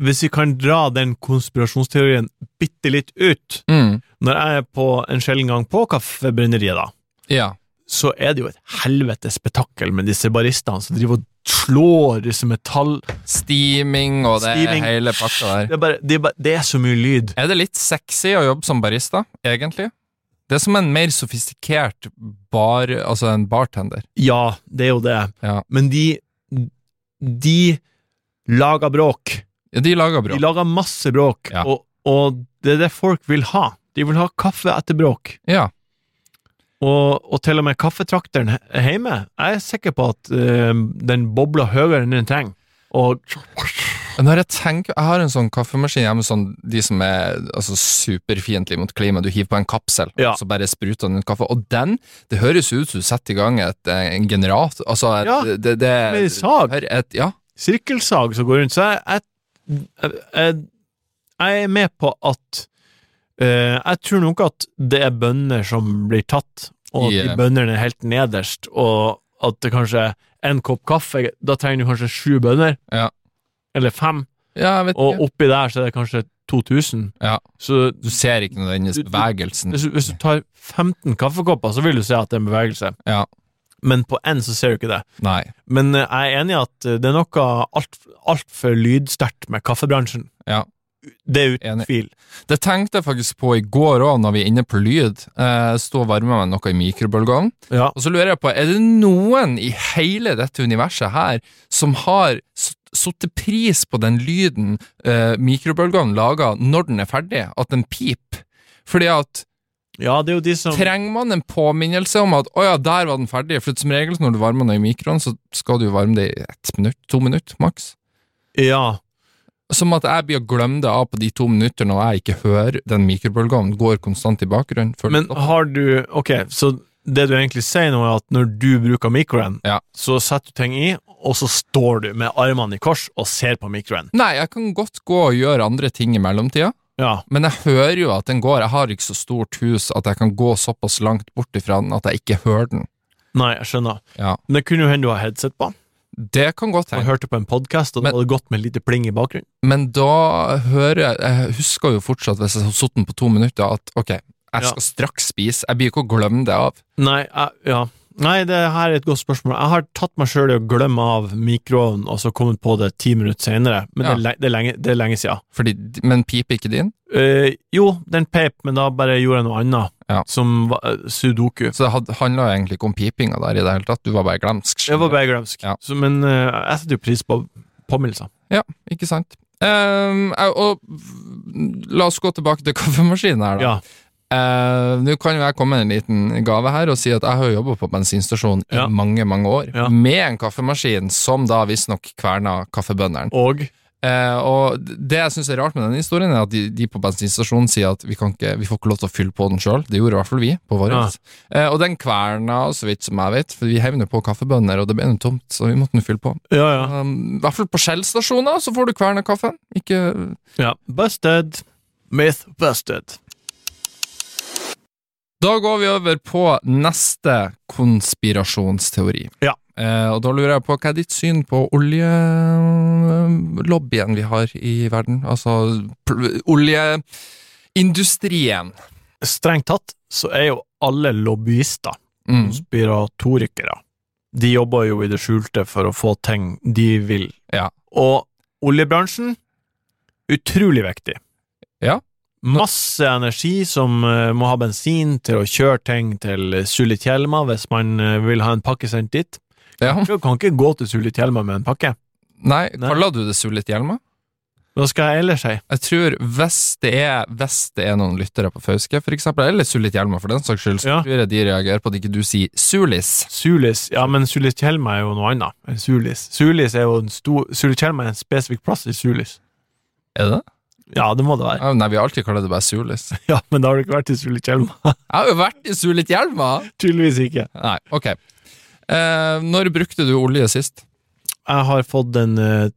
B: hvis vi kan dra den konspirasjonsteorien bitte litt ut
A: Mm,
B: Når jeg er på en sjelden gang på kaffebrenneriet, da,
A: ja.
B: så er det jo et helvetes spetakkel med disse baristene som driver og slår disse metall...
A: Steaming og det
B: Steaming.
A: hele pakka der.
B: Det er, bare, det, er bare, det er så mye lyd.
A: Er det litt sexy å jobbe som barista, egentlig? Det er som en mer sofistikert bar, altså en bartender.
B: Ja, det er jo det.
A: Ja.
B: Men de De lager bråk.
A: Ja, De lager
B: De
A: bra.
B: lager masse bråk,
A: Ja.
B: og, og det er det folk vil ha. De vil ha kaffe etter bråk.
A: Ja.
B: Og, og til og med kaffetrakteren he- hjemme, jeg er sikker på at eh, den bobler høyere enn den trenger. Og
A: Når jeg tenker, jeg har en sånn kaffemaskin hjemme, sånn, de som er altså, superfiendtlige mot klima. Du hiver på en kapsel,
B: Ja.
A: så bare spruter den ut kaffe. Og den, det høres ut som du setter i gang et, eh, en generator. Altså, et,
B: Ja,
A: det, det,
B: med sag,
A: Hør, et, ja.
B: sirkelsag som går rundt. Så jeg, jeg, jeg, jeg er med på at eh, Jeg tror nok at det er bønder som blir tatt, og at
A: Yeah.
B: de bøndene er helt nederst, og at det kanskje er en kopp kaffe Da trenger du kanskje sju bønder,
A: Ja.
B: eller fem,
A: ja, jeg vet
B: og
A: ikke.
B: oppi der så er det kanskje 2000.
A: Ja.
B: Så
A: Du ser ikke nødvendigvis
B: Du- du-
A: bevegelsen.
B: Hvis, hvis du tar 15 kaffekopper, så vil du se at det er en bevegelse.
A: Ja.
B: Men på én så ser du ikke det.
A: Nei.
B: Men eh, jeg er enig i at eh, det er noe altfor alt for lydsterkt med kaffebransjen.
A: Ja.
B: Det er uten
A: Enig.
B: tvil.
A: Det tenkte jeg faktisk på i går òg, når vi er inne på lyd. Eh, Stå og varme meg noe i mikrobølgeovnen.
B: Ja.
A: Og så lurer jeg på, er det noen i hele dette universet her som har s- satt pris på den lyden eh, mikrobølgene lager når den er ferdig, at den piper? Fordi at
B: ja, det er jo de som
A: trenger man en påminnelse om at å ja, der var den ferdig, for som regel når du varmer den i mikroen, så skal du jo varme det i ett minutt, to minutter maks.
B: Ja.
A: Som at jeg blir å glemme det av på de to minutter når jeg ikke hører den mikrobølgeovnen går konstant i bakgrunnen. føler
B: Men
A: jeg.
B: har du Ok, så det du egentlig sier nå, er at når du bruker mikroen,
A: Ja.
B: så setter du ting i, og så står du med armene i kors og ser på mikroen.
A: Nei, jeg kan godt gå og gjøre andre ting i mellomtida.
B: Ja.
A: Men jeg hører jo at den går. Jeg har ikke så stort hus at jeg kan gå såpass langt bort ifra den at jeg ikke hører den.
B: Nei, jeg skjønner.
A: Ja.
B: Men det kunne jo hende du har headset på,
A: Det kan godt
B: og
A: hende.
B: hørte på en podkast, og
A: Men-
B: det hadde gått med lite pling i bakgrunnen.
A: Men da hører jeg Jeg husker jo fortsatt, hvis jeg har sittet den på to minutter, at ok, jeg
B: Ja.
A: skal straks spise. Jeg blir ikke å glemme det av.
B: Nei, jeg, ja. Nei, det her er et godt spørsmål. Jeg har tatt meg sjøl i å glemme av mikroovnen, og så kommet på det ti minutter senere, men det, er le- det, er lenge, det er lenge siden.
A: Fordi, men piper ikke din?
B: Eh, jo, den peip, men da bare gjorde jeg noe annet,
A: Ja.
B: som var eh, sudoku.
A: Så det handla egentlig ikke om pipinga der i det hele tatt. Du var bare glemsk.
B: Jeg var bare glemsk,
A: Ja.
B: Så- men eh, jeg setter jo pris på påminnelser.
A: Ja, ikke sant. Ehm, jeg- og la oss gå tilbake til kaffemaskinen her, da.
B: Ja.
A: Eh, Nå kan jo jeg komme med en liten gave her og si at jeg har jobba på bensinstasjon
B: Ja.
A: i mange mange år,
B: Ja.
A: med en kaffemaskin som da visstnok kverna kaffebøndene.
B: Og
A: Eh, og det jeg syns er rart med den historien, er at de, de på bensinstasjonen sier at vi, kan ikke, vi får ikke lov til å fylle på den sjøl. Det gjorde i hvert fall vi på vår.
B: Ja.
A: Eh, og den kverna, så vidt som jeg vet, for vi hevner på kaffebønner, og det ble noe tomt, så vi måtte nå fylle på.
B: Ja, ja.
A: Um, I hvert fall på Shell-stasjoner så får du kverna kaffen. Ikke
B: ja. Busted. Myth busted.
A: Da går vi over på neste konspirasjonsteori.
B: Ja.
A: Eh, og da lurer jeg på hva er ditt syn på oljelobbyen vi har i verden? Altså pl- oljeindustrien.
B: Strengt tatt så er jo alle lobbyister
A: Mm.
B: konspiratorikere. De jobber jo i det skjulte for å få ting de vil.
A: Ja.
B: Og oljebransjen, utrolig viktig.
A: Ja.
B: Masse energi som eh, må ha bensin til å kjøre ting til Sulitjelma hvis man eh, vil ha en pakke sendt dit.
A: Ja.
B: Du kan ikke gå til Sulitjelma med en pakke.
A: Nei,
B: Nei.
A: kaller du det Sulitjelma?
B: Hva skal jeg ellers si?
A: Jeg tror hvis det er, hvis det er noen lyttere på Fauske, for eksempel, eller Sulit Hjelma for den saks skyld, så
B: Ja.
A: tror jeg de reagerer på at ikke du sier Sulis.
B: Sulis. Ja, men Sulitjelma er jo noe annet enn Sulis. Sulis er jo en stor Sulitjelma er en spesifikk plass i Sulis.
A: Er det det?
B: Ja, det må det være.
A: Ah, Nei, vi har alltid kalt det bare Sulis.
B: Ja, men da har du ikke vært i Sulitjelma.
A: Jeg har jo vært i Sulit Hjelma!
B: Tydeligvis ikke.
A: Nei, ok. Eh, når brukte du olje sist?
B: Jeg har fått en eh,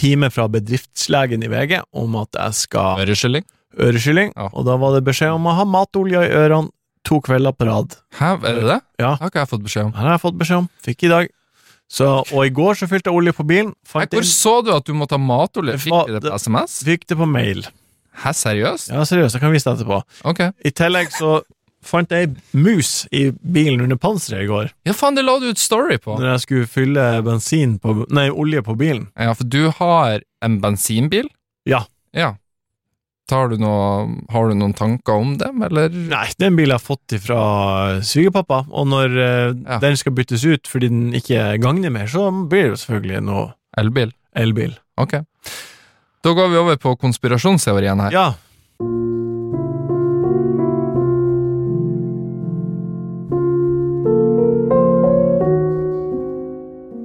B: time fra bedriftslegen i VG om at jeg skal
A: Øreskylling?
B: øreskylling,
A: Ja.
B: og da var det beskjed om å ha matolja i ørene to kvelder på rad.
A: Hæ, er det det?
B: Ja.
A: Det har ikke jeg fått beskjed om.
B: Det har jeg fått beskjed om. Fikk i dag. Så, og i går så fylte jeg olje på bilen.
A: Hæ,
B: Fant
A: hvor
B: inn,
A: så du at du måtte ha matolje?
B: Det var-
A: Fikk du det på
B: det-
A: SMS?
B: fikk det på mail.
A: Hæ, seriøst?
B: Ja, seriøst, jeg kan vise deg etterpå.
A: Ok.
B: I tillegg så fant jeg ei mus i bilen under panseret i går,
A: Ja, faen, det la du ut story på.
B: når jeg skulle fylle bensin på, nei, olje på bilen.
A: Ja, for du har en bensinbil?
B: Ja.
A: Ja. Tar du noe, har du noen tanker om dem, eller?
B: Nei, det er en bil jeg har fått fra svigerpappa, og når eh,
A: Ja.
B: den skal byttes ut fordi den ikke gagner mer, så blir det jo selvfølgelig noe
A: Elbil?
B: elbil.
A: Ok. Da går vi over på konspirasjonsteorien her.
B: Ja.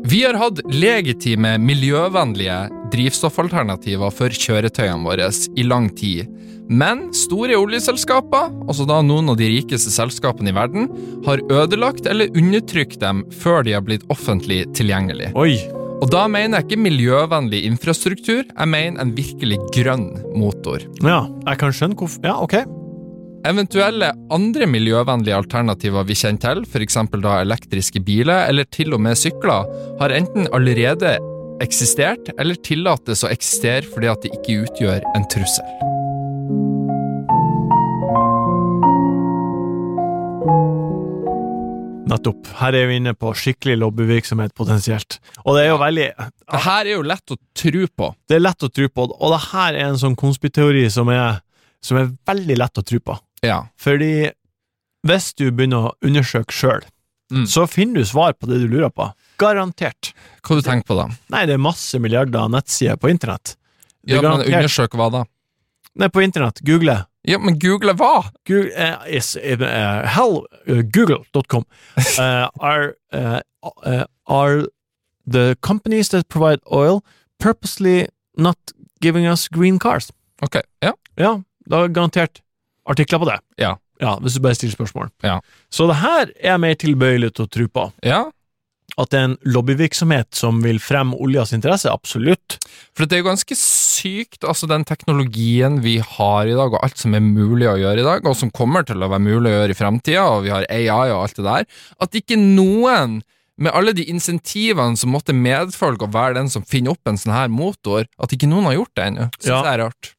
A: Vi har hatt legitime, miljøvennlige drivstoffalternativer for kjøretøyene våre i lang tid. Men store oljeselskaper, altså da noen av de rikeste selskapene i verden, har ødelagt eller undertrykt dem før de har blitt offentlig tilgjengelig.
B: Oi.
A: Og da mener jeg ikke miljøvennlig infrastruktur, jeg mener en virkelig grønn motor.
B: Ja, jeg kan skjønne hvorfor Ja, ok.
A: Eventuelle andre miljøvennlige alternativer vi kjenner til, f.eks. da elektriske biler eller til og med sykler, har enten allerede eksistert eller tillates å eksistere fordi at de ikke utgjør en trussel.
B: Nettopp. Her er vi inne på skikkelig lobbyvirksomhet, potensielt. Og det er jo veldig
A: Det her er jo lett å tro på.
B: Det er lett å tro på, og det her er en sånn konspiteori som er, som er veldig lett å tro på.
A: Ja.
B: Fordi hvis du begynner å undersøke sjøl,
A: Mm.
B: så finner du svar på det du lurer på. Garantert.
A: Hva du tenker på da?
B: Nei, det er masse milliarder av nettsider på internett. Det
A: Ja,
B: er
A: men
B: garantert.
A: Undersøk hva da?
B: Nei, på internett. Google.
A: Ja, men google hva?
B: Google eh, is, eh, eh, hell, eh, Google.com eh, are, eh, eh, are the companies that provide oil purposely not giving us green cars?
A: Ok, ja.
B: Ja, da er garantert artikler på det.
A: Ja.
B: Hvis du bare stiller spørsmål.
A: Ja.
B: Så det her er jeg mer tilbøyelig til å tro på.
A: Ja,
B: At det er en lobbyvirksomhet som vil fremme oljas interesse, absolutt.
A: For det er jo ganske sykt, altså den teknologien vi har i dag, og alt som er mulig å gjøre i dag, og som kommer til å være mulig å gjøre i fremtida, og vi har AI og alt det der, at ikke noen, med alle de insentivene som måtte medfølge å være den som finner opp en sånn her motor, at ikke noen har gjort det ennå, syns
B: Ja.
A: jeg er rart.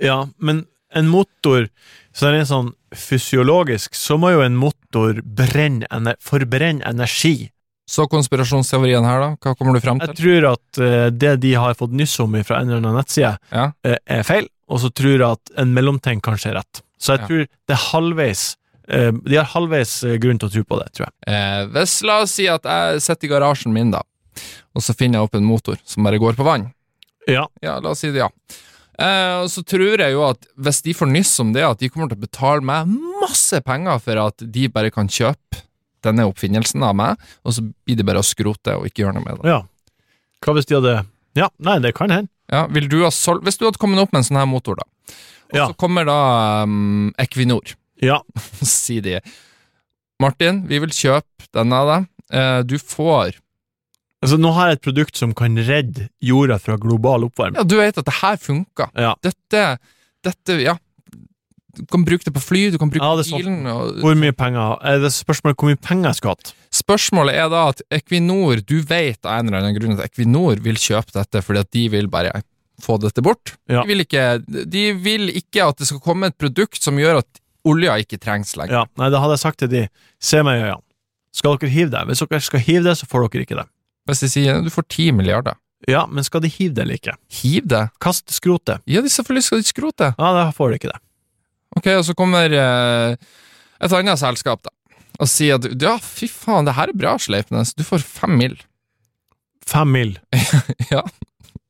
B: Ja, men en motor Så det er sånn fysiologisk, så må jo en motor brenne ener forbrenne energi.
A: Så konspirasjonsteorien her, da, hva kommer du frem til?
B: Jeg tror at eh, det de har fått nyss om fra en eller annen nettside,
A: Ja.
B: eh, er feil, og så tror jeg at en mellomting kanskje er rett. Så jeg
A: Ja.
B: tror det er halvveis eh, De har halvveis eh, grunn til å tro på det, tror jeg.
A: Eh, hvis la oss si at jeg sitter i garasjen min, da, og så finner jeg opp en motor som bare går på vann.
B: Ja.
A: Ja, la oss si det, ja. Eh, og så tror jeg jo at hvis de får nyss om det, at de kommer til å betale meg masse penger for at de bare kan kjøpe denne oppfinnelsen av meg, og så blir det bare å skrote og ikke gjøre noe med det.
B: ja. Hva hvis de hadde Ja, nei, det kan hende.
A: Ja, vil du ha sol Hvis du hadde kommet opp med en sånn her motor, da, og
B: Ja.
A: så kommer da um, Equinor,
B: Ja.
A: og sier de Martin, vi vil kjøpe denne av deg. Eh, du får
B: Altså, nå har jeg et produkt som kan redde jorda fra global oppvarming.
A: Ja, du vet at det her funker.
B: Ja.
A: Dette, dette Ja. Du kan bruke det på fly, du kan bruke
B: Ja,
A: det
B: det
A: på
B: er
A: bilen og
B: Hvor mye penger Er det spørsmålet hvor mye penger jeg skulle hatt?
A: Spørsmålet er da at Equinor, du vet av en eller annen grunn at Equinor vil kjøpe dette fordi at de vil bare få dette bort.
B: Ja.
A: De, vil ikke, de vil ikke at det skal komme et produkt som gjør at olja ikke trengs lenger.
B: Ja, nei, da hadde jeg sagt til de Se meg i øynene. Skal dere hive det? Hvis dere skal hive det, så får dere ikke det.
A: Hvis de sier du får 10 milliarder,
B: Ja, men skal de hive det eller ikke?
A: hiv det.
B: Kast skrotet.
A: Ja, de selvfølgelig skal de skrote det.
B: Ja, da får de ikke det.
A: Ok, og så kommer eh, et annet selskap da, og sier at ja, fy faen, det her er bra, Sleipnes, du får fem mil.
B: Fem mil.
A: Ja.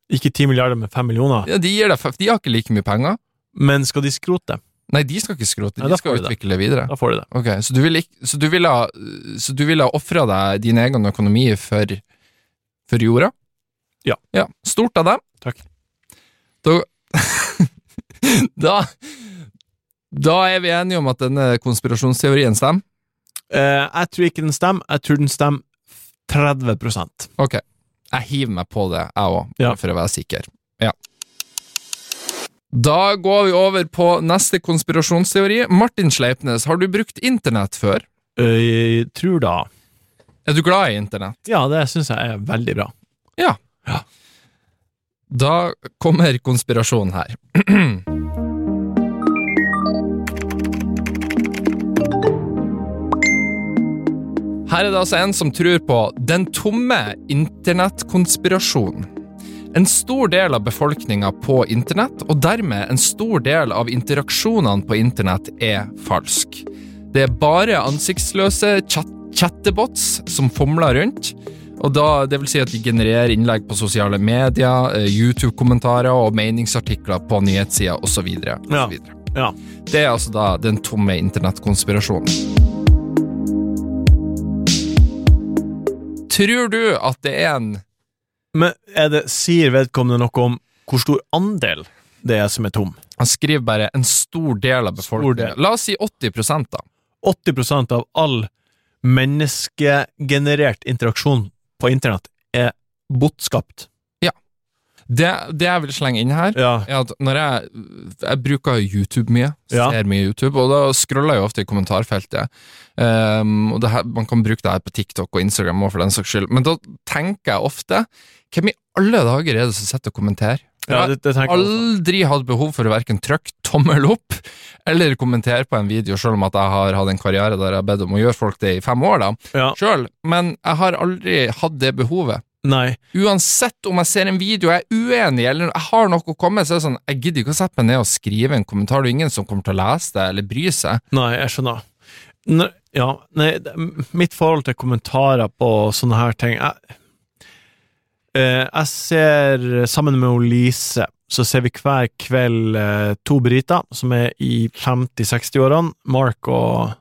B: Ikke 10 milliarder, men 5 millioner.
A: Ja, de, gir deg, f- de har ikke like mye penger.
B: Men skal de skrote det,
A: Nei, de skal ikke skrote,
B: Nei,
A: de
B: da
A: skal
B: får de det.
A: utvikle det videre.
B: da får de det.
A: Ok, Så du ville ikk- så du ville ha, så du ville ha ofra deg din egen økonomi for, for jorda?
B: Ja.
A: Stort av deg.
B: Takk.
A: Da, da Da er vi enige om at denne konspirasjonsteorien stemmer?
B: Eh, jeg tror ikke den stemmer. Jeg tror den stemmer 30
A: Ok. Jeg hiver meg på det, jeg òg,
B: Ja.
A: for å være sikker. Ja. Da går vi over på neste konspirasjonsteori. Martin Sleipnes, har du brukt internett før?
B: Eh, tror da
A: Er du glad i internett?
B: Ja, det syns jeg er veldig bra.
A: Da kommer konspirasjonen her. Her er det altså en som tror på den tomme internettkonspirasjonen. En stor del av befolkninga på internett, og dermed en stor del av interaksjonene på internett, er falsk. Det er bare ansiktsløse chat chattebots som fomler rundt. Og da, det vil si at de genererer innlegg på sosiale medier, eh, YouTube-kommentarer og meningsartikler på nyhetssider osv.
B: Ja. Ja.
A: Det er altså da den tomme internettkonspirasjonen. Tror du at det er en
B: Men er det, sier vedkommende noe om hvor stor andel det er som er tom?
A: Han skriver bare en stor del av befolkningen.
B: del.
A: La oss si 80 da.
B: 80 av all menneskegenerert interaksjon på internett er botskapt.
A: Det, det jeg vil slenge inn her,
B: Ja.
A: er at når jeg, jeg bruker YouTube mye, ser
B: Ja.
A: mye YouTube, og da scroller jeg jo ofte i kommentarfeltet. Ehm, og det her, man kan bruke det her på TikTok og Instagram også for den saks skyld, men da tenker jeg ofte Hvem i alle dager er det som sitter og kommenterer?
B: Ja, det, det tenker jeg også.
A: aldri hatt behov for å verken trykke tommel opp eller kommentere på en video, selv om at jeg har hatt en karriere der jeg har bedt om å gjøre folk det i fem år, da,
B: Ja.
A: selv, men jeg har aldri hatt det behovet.
B: Nei.
A: Uansett om jeg ser en video jeg er uenig i, eller jeg har noe å komme med, så er det sånn, jeg gidder ikke å sette meg ned og skrive en kommentar, det er ingen som kommer til å lese det eller bry seg.
B: Nei, jeg skjønner. Nei, ja, nei, det- m- mitt forhold til kommentarer på sånne her ting Jeg, eh, jeg ser, sammen med hun Lise, så ser vi hver kveld eh, to briter som er i 50-60-årene, Mark og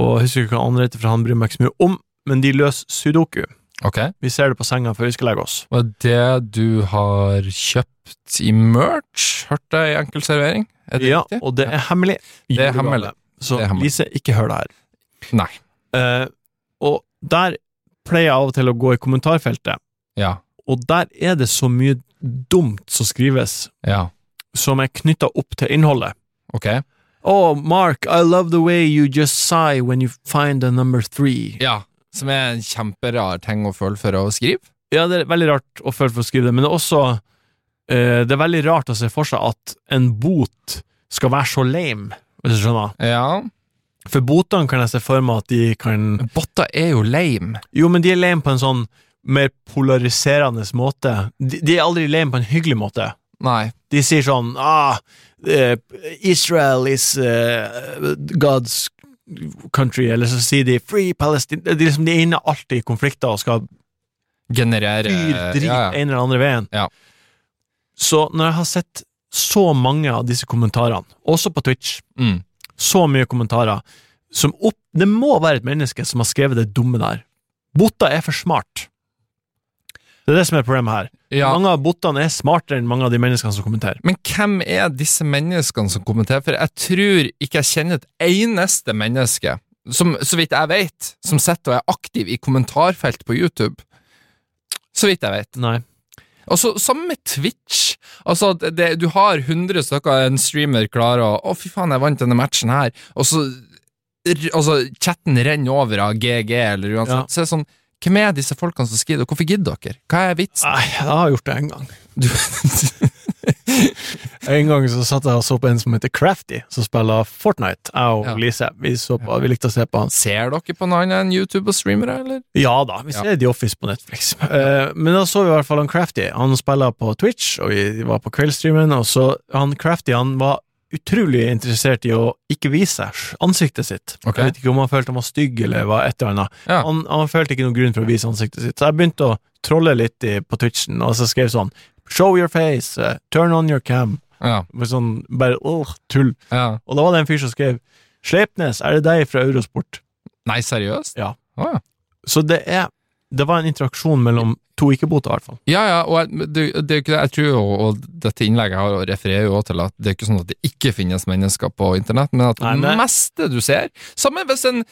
B: og jeg husker ikke hva han heter, for han bryr meg ikke så mye om, men de løser sudoku.
A: Ok.
B: Vi ser det på senga før vi skal legge oss.
A: Og det du har kjøpt i merch, hørte jeg i enkel servering? Er det
B: Ja,
A: riktig?
B: og det er hemmelig.
A: Det er hemmelig.
B: Så
A: Det er hemmelig.
B: Lise, ikke hør det her.
A: Nei.
B: Eh, og der pleier jeg av og til å gå i kommentarfeltet,
A: Ja.
B: og der er det så mye dumt som skrives,
A: Ja.
B: som er knytta opp til innholdet.
A: Ok.
B: Oh, Mark, I love the way you just sigh when you find the number three.
A: Ja. Som er en kjemperar ting å føle for å skrive.
B: Ja, det er veldig rart å føle for å skrive det, men det er også eh, Det er veldig rart å se for seg at en bot skal være så lame, hvis du skjønner.
A: Ja.
B: For botene kan jeg se for meg at de kan
A: Men Botter er jo lame.
B: Jo, men de er lame på en sånn mer polariserende måte. De, de er aldri lame på en hyggelig måte.
A: Nei.
B: De sier sånn ah, eh, Israel is eh, God's country, eller så sier de Free Palestine De, liksom, de er inne alltid i konflikter og skal
A: Generere
B: fyre drit
A: ja, ja.
B: en eller andre veien.
A: Ja.
B: Så når jeg har sett så mange av disse kommentarene, også på Twitch,
A: Mm.
B: så mye kommentarer som opp Det må være et menneske som har skrevet det dumme der. Botter er for smart. Det er det som er problemet her.
A: ja.
B: Mange av bottene er smartere enn mange av de menneskene som kommenterer.
A: Men hvem er disse menneskene som kommenterer? For jeg tror ikke jeg kjenner et eneste menneske, som, så vidt jeg vet, som sitter og er aktiv i kommentarfelt på YouTube. Så vidt jeg vet.
B: Nei.
A: Og så sammen med Twitch. Altså, at det, du har 100 stykker en streamer klarer å Å, fy faen, jeg vant denne matchen her. Og så r- Altså, chatten renner over av GG, eller
B: Ja.
A: uansett. Så er det sånn Hvem er disse folkene som skriver? Hvorfor gidder dere? Hva er vitsen?
B: Nei, jeg har gjort det en gang.
A: Du,
B: En gang så satt jeg og så på en som heter Crafty, som spiller Fortnite. Jeg og
A: Ja.
B: Lise. Vi, så på, vi likte å se på han.
A: ser dere på noe annet enn YouTube og streamere, eller?
B: Ja da, vi ser The Office på Netflix. Eh, men da så vi i hvert fall han Crafty. Han spiller på Twitch, og vi var på kveldsstreamen, og så han Crafty han var utrolig interessert i å ikke vise ansiktet sitt.
A: Ok.
B: Jeg vet ikke om han følte han var stygg eller hva et eller annet.
A: Ja.
B: Han, han følte ikke noen grunn for å vise ansiktet sitt, så jeg begynte å trolle litt i, på Twitchen, og så skrev sånn Show your face, eh, turn on your cam.
A: Ja,
B: Bare Sånn, bare åh, tull.
A: ja.
B: Og da var det en fyr som skrev Sleipnes, er det deg fra Eurosport?
A: Nei, seriøst?
B: Ja.
A: Å, ja.
B: Så det er Det var en interaksjon mellom to ikke-boter, i hvert fall.
A: Ja, ja, og jeg, det, det er jo ikke det. Jeg tror jo, og dette innlegget jeg har, og refererer jo også til at det er ikke sånn at det ikke finnes mennesker på internett, men at
B: Nei,
A: det
B: det-
A: meste du ser Samme hvis en,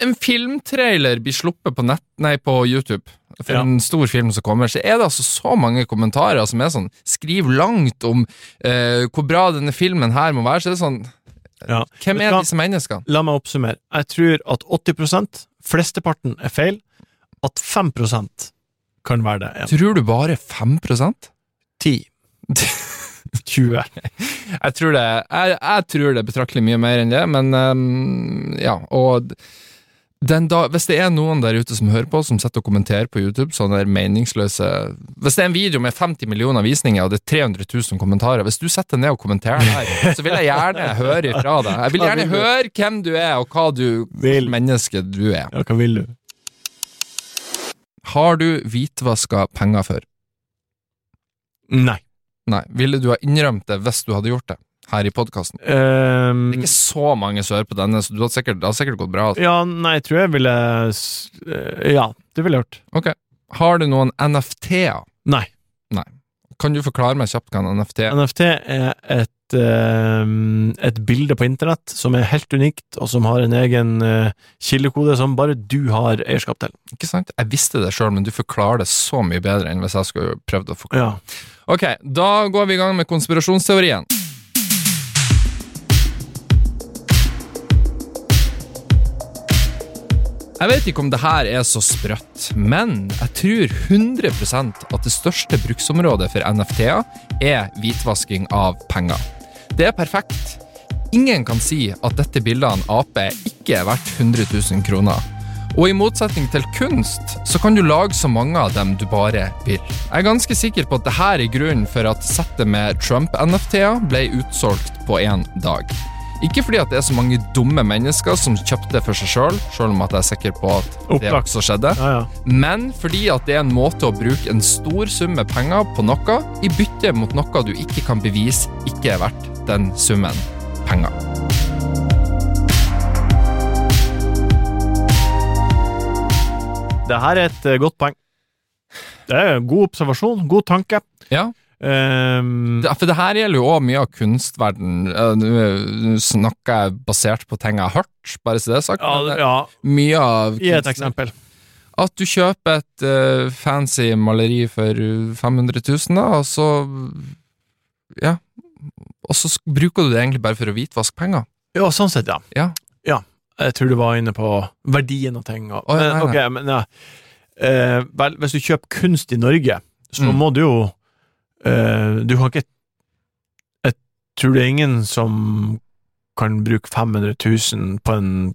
A: en filmtrailer blir sluppet på nett, nei, på YouTube for
B: Ja.
A: en stor film som kommer, så er det altså så mange kommentarer som er sånn Skriv langt om eh, hvor bra denne filmen her må være, så er det sånn
B: Ja.
A: Hvem
B: Vet
A: er
B: du hva?
A: disse menneskene?
B: La meg oppsummere. Jeg tror at 80 flesteparten er feil. At 5 kan være det. En,
A: Tror du bare 5
B: 10, 20
A: Jeg tror det, jeg, jeg tror det er betraktelig mye mer enn det, men ehm, ja, og d- den da, hvis det er noen der ute som hører på, som setter og kommenterer på YouTube, sånne der meningsløse Hvis det er en video med 50 millioner visninger, og det er 300 000 kommentarer, hvis du setter ned og kommenterer der, så vil jeg gjerne høre ifra deg. Jeg vil gjerne høre hvem du er, og hva du
B: Vil.
A: menneske du er.
B: Ja, hva vil du?
A: Har du hvitvaska penger før?
B: Nei.
A: Nei. Ville du ha innrømt det hvis du hadde gjort det? Her i podkasten.
B: Ehm,
A: Det er ikke så mange som hører på denne, så du hadde sikkert, det hadde sikkert gått bra. Altså.
B: ja, nei, jeg tror jeg ville s- eh, Ja, det ville jeg gjort.
A: Har du noen NFT-er?
B: Nei.
A: Kan du forklare meg kjapt hva en NFT er?
B: NFT er et, ehm, et bilde på internett som er helt unikt, og som har en egen eh, kildekode som bare du har eierskap til.
A: Ikke sant? Jeg visste det sjøl, men du forklarer det så mye bedre enn hvis jeg skulle prøvd å forklare.
B: Ja.
A: Ok, da går vi i gang med konspirasjonsteorien. Jeg vet ikke om det her er så sprøtt, men jeg tror 100 at det største bruksområdet for NFT-er er hvitvasking av penger. Det er perfekt. Ingen kan si at dette bildet av en ape ikke er verdt 100 000 kroner. Og i motsetning til kunst, så kan du lage så mange av dem du bare vil. Jeg er ganske sikker på at dette er grunnen for at settet med Trump-NFT-er ble utsolgt på én dag. Ikke fordi at det er så mange dumme mennesker som kjøpte det for seg sjøl, sjøl om at jeg er sikker på at det
B: Opplagt.
A: også skjedde
B: Ja, ja.
A: men fordi at det er en måte å bruke en stor sum med penger på noe i bytte mot noe du ikke kan bevise ikke er verdt den summen penger.
B: Det her er et eh, godt poeng. Det er en god observasjon, god tanke.
A: Ja,
B: Ehm,
A: det- for det her gjelder jo også mye av kunstverden. Eh, Nå nå snakker jeg basert på ting jeg har hørt, bare så det er sagt.
B: ja,
A: men det er
B: ja,
A: Mye av
B: gi et
A: kunsten-
B: eksempel.
A: At du kjøper et eh, fancy maleri for eh, 500 000, da, og så Ja. Og så sk- bruker du det egentlig bare for å hvitvaske penger.
B: Ja, sånn sett, ja.
A: Ja.
B: Jeg tror du var inne på verdien av ting. Og,
A: Å, ja,
B: men,
A: nei,
B: ok, men ja. Eh, vel, hvis du kjøper kunst i Norge, så
A: Mm.
B: må du jo eh, Du har ikke Jeg tror det er ingen som kan bruke 500 000 på en,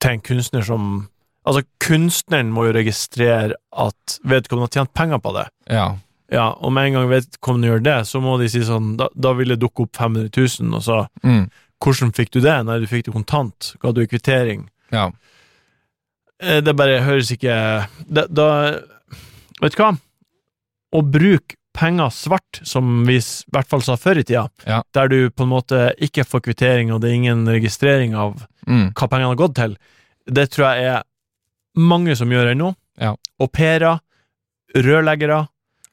B: til en kunstner som Altså, kunstneren må jo registrere at vedkommende har tjent penger på det.
A: Ja.
B: Ja, og med en gang vedkommende gjør det, så må de si sånn Da, da vil det dukke opp 500 000, og så
A: Mm.
B: hvordan fikk du det? Nei, du fikk det kontant. Ga du i kvittering?
A: Ja.
B: Eh, Det bare høres ikke det, Da Vet du hva? Å bruke penger svart, som vi s- i hvert fall sa før i tida,
A: Ja.
B: der du på en måte ikke får kvittering, og det er ingen registrering av
A: Mm.
B: hva pengene har gått til, det tror jeg er mange som gjør ennå.
A: Ja.
B: Au pairer, rørleggere,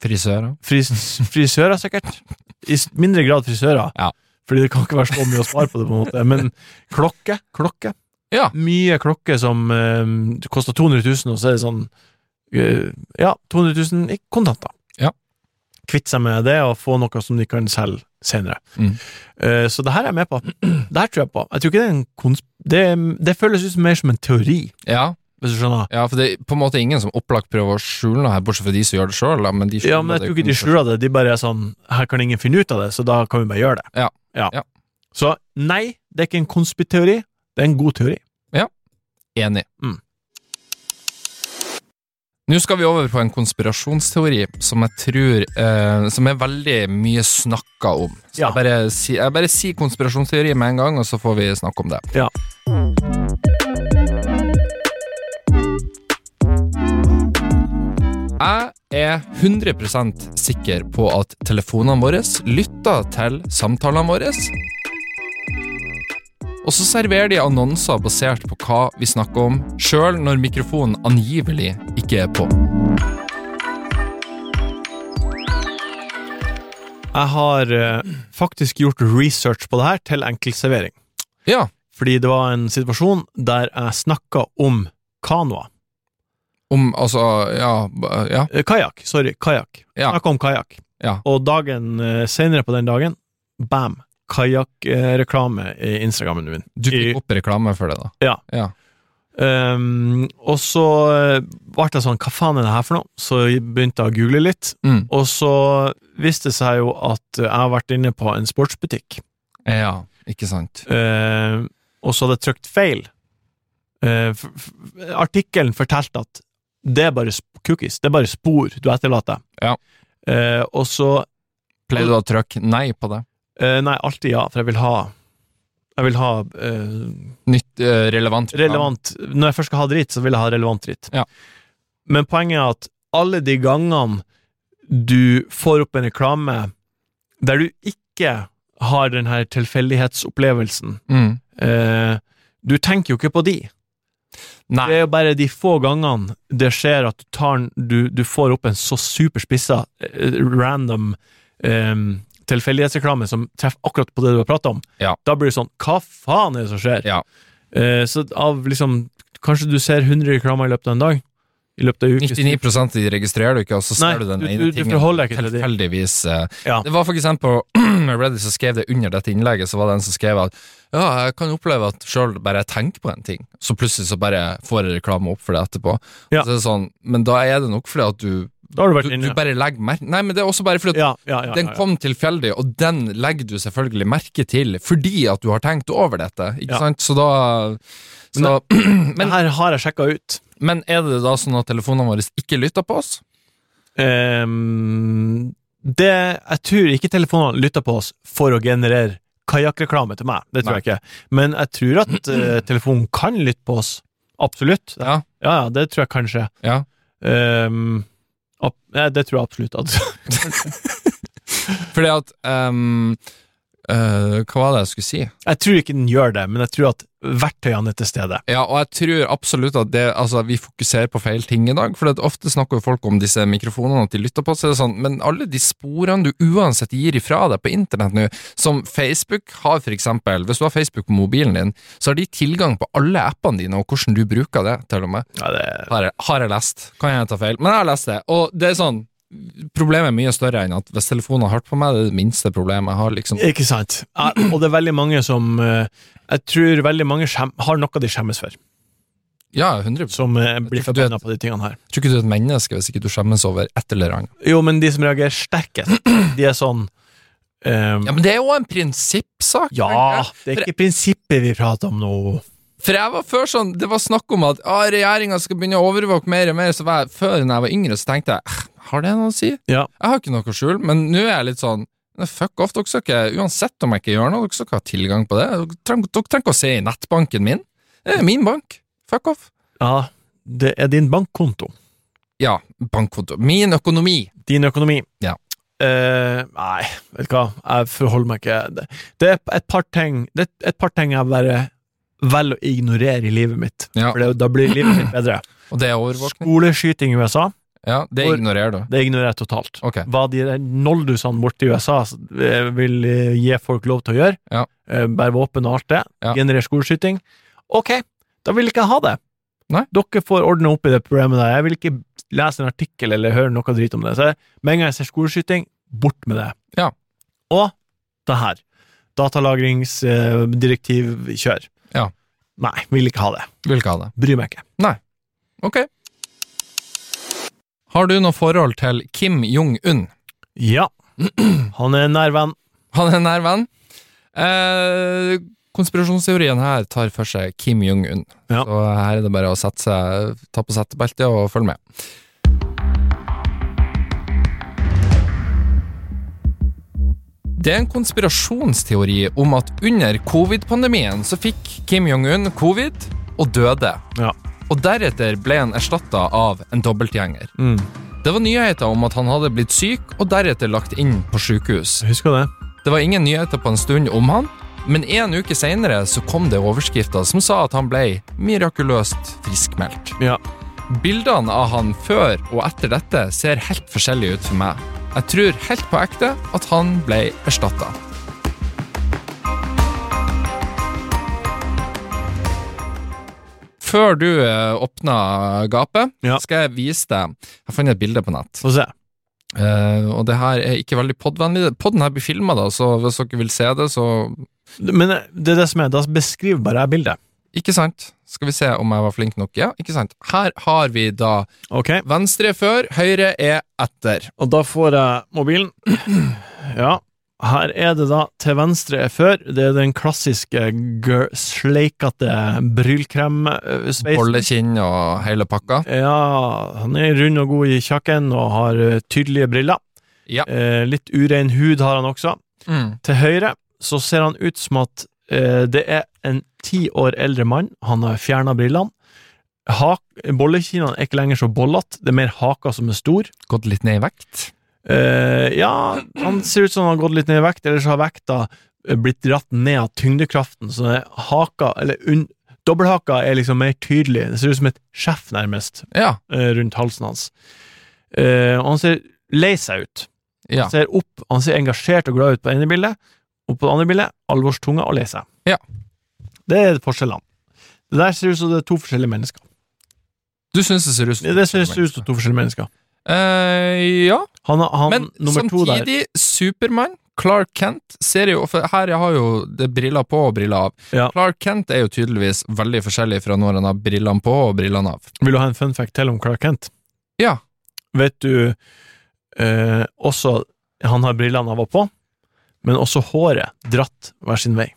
A: Frisører.
B: fris, frisører sikkert. I s- mindre grad frisører.
A: Ja.
B: Fordi det kan ikke være så mye å spare på det, på en måte. Men klokke, klokke.
A: Ja.
B: Mye klokke som eh, det koster 200 000, og så er det sånn eh, Ja, 200 000 i kontanter.
A: Ja.
B: Kvitte seg med det og få noe som de kan selge senere.
A: Mm.
B: Eh, så det her er jeg med på. Det her tror jeg på. Jeg tror ikke det er en konsp... Det, det føles ut som mer som en teori,
A: Ja,
B: hvis du skjønner.
A: ja, for det er på en måte ingen som opplagt prøver å skjule noe her, bortsett fra de som gjør det sjøl. Men de skjuler
B: Ja, men jeg
A: det
B: tror ikke de
A: kun for-
B: skjuler det. De bare er sånn Her kan ingen finne ut av det, så da kan vi bare gjøre det.
A: Ja. Ja.
B: Så nei, det er ikke en konspiteori. Det er en god teori.
A: Enig.
B: Mm.
A: Nå skal vi over på en konspirasjonsteori som jeg tror eh, Som er veldig mye snakka om. Så
B: Ja.
A: jeg, bare si, jeg bare sier konspirasjonsteori med en gang, og så får vi snakke om det.
B: Ja.
A: Jeg er 100 sikker på at telefonene våre lytter til samtalene våre. Og så serverer de annonser basert på hva vi snakker om, sjøl når mikrofonen angivelig ikke er på.
B: Jeg har eh, faktisk gjort research på det her til enkeltservering.
A: Ja,
B: Fordi det var en situasjon der jeg snakka om kanoa.
A: om altså Ja. b- ja.
B: Eh, Kajakk, sorry. Kajakk.
A: Ja.
B: Snakka om kajakk.
A: Ja.
B: Og dagen eh, senere på den dagen, bam, kajakkreklame i Instagrammen min.
A: Du
B: I-
A: fikk opp reklame for det, da.
B: Um, og så eh, ble jeg sånn, hva faen er det her for noe? Så jeg begynte jeg å google litt,
A: Mm.
B: og så viste det seg jo at jeg har vært inne på en sportsbutikk,
A: Ja, ikke sant.
B: Eh, og så hadde jeg trykt feil. Eh, f- f- artikkelen fortalte at det er bare sp- cookies, det er bare spor du etterlater.
A: Ja.
B: Eh, og så
A: Pleier du å trykke nei på det?
B: eh, Nei, alltid ja, for jeg vil ha Jeg vil ha eh,
A: Nytt, eh, relevant.
B: relevant Når jeg først skal ha dritt, så vil jeg ha relevant dritt.
A: Ja.
B: Men poenget er at alle de gangene du får opp en reklame der du ikke har den her tilfeldighetsopplevelsen
A: Mm.
B: eh, Du tenker jo ikke på de.
A: Nei.
B: Det er jo bare de få gangene det skjer at du, tar, en- du, du får opp en så superspissa, eh, random eh, tilfeldighetsreklame som treffer akkurat på det du har prata om.
A: Ja.
B: Da blir det sånn Hva faen er det som skjer?
A: Ja.
B: Eh, så av liksom Kanskje du ser 100 reklamer i løpet av en dag? I løpet av en uke?
A: 99 av de registrerer du ikke, og så
B: Nei,
A: ser du den
B: du-
A: ene
B: du- du
A: tingen.
B: forholder deg ikke til de.
A: Tilfeldigvis. eh,
B: Ja.
A: Det var faktisk en på Reddit som skrev det under dette innlegget, så var det en som skrev at ja, jeg kan oppleve at sjøl bare jeg tenker på en ting, så plutselig så bare får jeg reklame opp for det etterpå.
B: Ja.
A: Så det er sånn, men da er det nok fordi at du,
B: Da har du
A: du,
B: vært
A: du
B: inne.
A: bare legger merke Nei, men det er også bare fordi at
B: Ja, ja, ja, ja,
A: den
B: ja.
A: kom tilfeldig, og den legger du selvfølgelig merke til fordi at du har tenkt over dette, ikke
B: Ja.
A: sant? Så da så,
B: Det her har jeg sjekka ut.
A: Men er det da sånn at telefonene våre ikke lytter på oss?
B: Ehm, det, jeg tror ikke telefonene lytter på oss for å generere kajakkreklame til meg. Det tror jeg ikke. Men jeg tror at eh, telefonen kan lytte på oss. Absolutt.
A: Ja.
B: ja, ja, det tror jeg kan skje.
A: Ja.
B: Ehm, ab- ja, det tror jeg absolutt. At,
A: Fordi at ehm, eh, Hva var det jeg skulle si?
B: jeg tror ikke den gjør det, men jeg tror at verktøyene er til stede.
A: Ja, og jeg tror absolutt at det, altså, vi fokuserer på feil ting i dag. For at ofte snakker jo folk om disse mikrofonene, at de lytter på oss. så er det Sånn, men alle de sporene du uansett gir ifra deg på internett nå, som Facebook har for eksempel, Hvis du har Facebook på mobilen din, så har de tilgang på alle appene dine, og hvordan du bruker det, til og med.
B: Ja, det,
A: Har jeg, har jeg lest. Kan jeg ta feil? Men jeg har lest det. Og det er sånn, problemet er mye større enn at hvis telefonen har hørt på meg, det er det minste problemet jeg har, liksom.
B: ikke sant. Ja, og det er veldig mange som eh, Jeg tror veldig mange skjem, har noe de skjemmes for,
A: Ja, 100
B: som eh, blir
A: Jeg tror ikke du er-
B: forbanna på de tingene her.
A: Tror ikke du er et menneske hvis ikke du skjemmes over et eller annet.
B: Jo, men de som reagerer sterkest, de er sånn ehm,
A: Ja, men det er jo en prinsippsak.
B: Ja,
A: tenker jeg.
B: det er ikke prinsippet vi prater om nå.
A: For jeg var før sånn, det var snakk om at ah, regjeringa skal begynne å overvåke mer og mer, så var jeg, før når jeg var yngre, så tenkte jeg, «Eh, har det noe å si?
B: Ja.
A: Jeg har ikke noe å skjule, men nå er jeg litt sånn, «Nei, fuck off, dere skal ikke, uansett om jeg ikke gjør noe, dere skal ikke ha tilgang på det. Dere trenger, dere trenger ikke å se i nettbanken min. Det er min bank. Fuck off.
B: Ja, det er din bankkonto.
A: Ja, bankkonto. Min økonomi.
B: Din økonomi.
A: Ja.
B: Eh, nei, vet du hva, jeg forholder meg ikke Det, det er et par ting Det er et par ting jeg bare velger å ignorere i livet mitt.
A: Ja.
B: For det, da blir livet mitt bedre.
A: Og det er overvåkning.
B: Skoleskyting i USA,
A: Ja, det
B: Hvor-
A: ignorerer du.
B: det ignorerer jeg totalt.
A: Ok.
B: Hva de der noldusene borte i USA s- eh, vil eh, gi folk lov til å gjøre,
A: Ja.
B: eh, bære våpen og alt det,
A: Ja.
B: generere skoleskyting Ok, da vil ikke jeg ha det.
A: Nei.
B: Dere får ordne opp i det problemet der. Jeg vil ikke lese en artikkel eller høre noe drit om det. Så jeg- med en gang jeg ser skoleskyting, bort med det.
A: Ja.
B: Og det her. Datalagringsdirektiv, eh, kjør.
A: Ja.
B: Nei, vil ikke ha det.
A: Vil ikke ha det.
B: Bryr meg ikke.
A: Ok. Har du noe forhold til Kim Jong-un?
B: Ja. Han er en nær venn.
A: Han er en nær venn. Eh, konspirasjonsteorien her tar for seg Kim Jong-un.
B: Ja.
A: Så her er det bare å sette seg, ta på settebeltet og følge med. Det er en konspirasjonsteori om at under covid-pandemien så fikk Kim Jong-un covid og døde.
B: Ja.
A: Og deretter ble han erstatta av en dobbeltgjenger. Det var nyheter om at han hadde blitt syk og deretter lagt inn på sykehus.
B: Jeg husker det.
A: Det var ingen nyheter på en stund om han, men en uke senere så kom det overskrifter som sa at han ble mirakuløst friskmeldt.
B: Ja.
A: Bildene av han før og etter dette ser helt forskjellige ut for meg. Jeg tror helt på ekte at han ble erstatta. Før du eh, åpna gapet,
B: Ja.
A: skal jeg vise deg Jeg fant et bilde på nett.
B: Få se.
A: Eh, og det her er ikke veldig podvennlig. Podden her blir filma, så hvis dere vil se det, så
B: Men eh, det er det som er, da beskriver bare jeg bildet.
A: Ikke sant? Skal vi se om jeg var flink nok? Ja, ikke sant? Her har vi da
B: Ok,
A: venstre før, høyre er etter.
B: og da får jeg mobilen. Ja, her er det da til venstre er før, det er den klassiske gir- sleikete brylkrem-sveisen.
A: Bollekinn og hele pakka.
B: Ja, han er rund og god i kjakken og har eh, tydelige briller.
A: Ja.
B: Eh, litt urein hud har han også.
A: Mm.
B: Til høyre så ser han ut som at eh, det er en ti år eldre mann. Han har fjerna brillene. Hak- Bollekinnene er ikke lenger så bollete, det er mer haka som er stor.
A: Gått litt ned i vekt.
B: Eh, ja, han ser ut som han har gått litt ned i vekt, eller så har vekta eh, blitt dratt ned av tyngdekraften, så det er haka, eller unn... Dobbelthaka er liksom mer tydelig. Det ser ut som et skjeff, nærmest,
A: Ja.
B: eh, rundt halsen hans. Eh, og han ser lei seg ut.
A: Ja.
B: Han ser opp, han ser engasjert og glad ut på det ene bildet, og på det andre bildet alvorstunga og lei seg.
A: Ja.
B: Det er forskjellene. Det der ser ut som det er to forskjellige mennesker.
A: Du syns det ser ut
B: Det ser ut som to forskjellige mennesker.
A: Eh, ja,
B: Han, han
A: men
B: nummer to der
A: samtidig Supermann, Clark Kent, ser jo For her har jo det briller på og briller av.
B: Ja.
A: Clark Kent er jo tydeligvis veldig forskjellig fra når han har brillene på og brillene av.
B: Vil du ha en fun fact til om Clark Kent?
A: Ja.
B: Vet du eh, også Han har brillene av og på, men også håret dratt hver sin vei.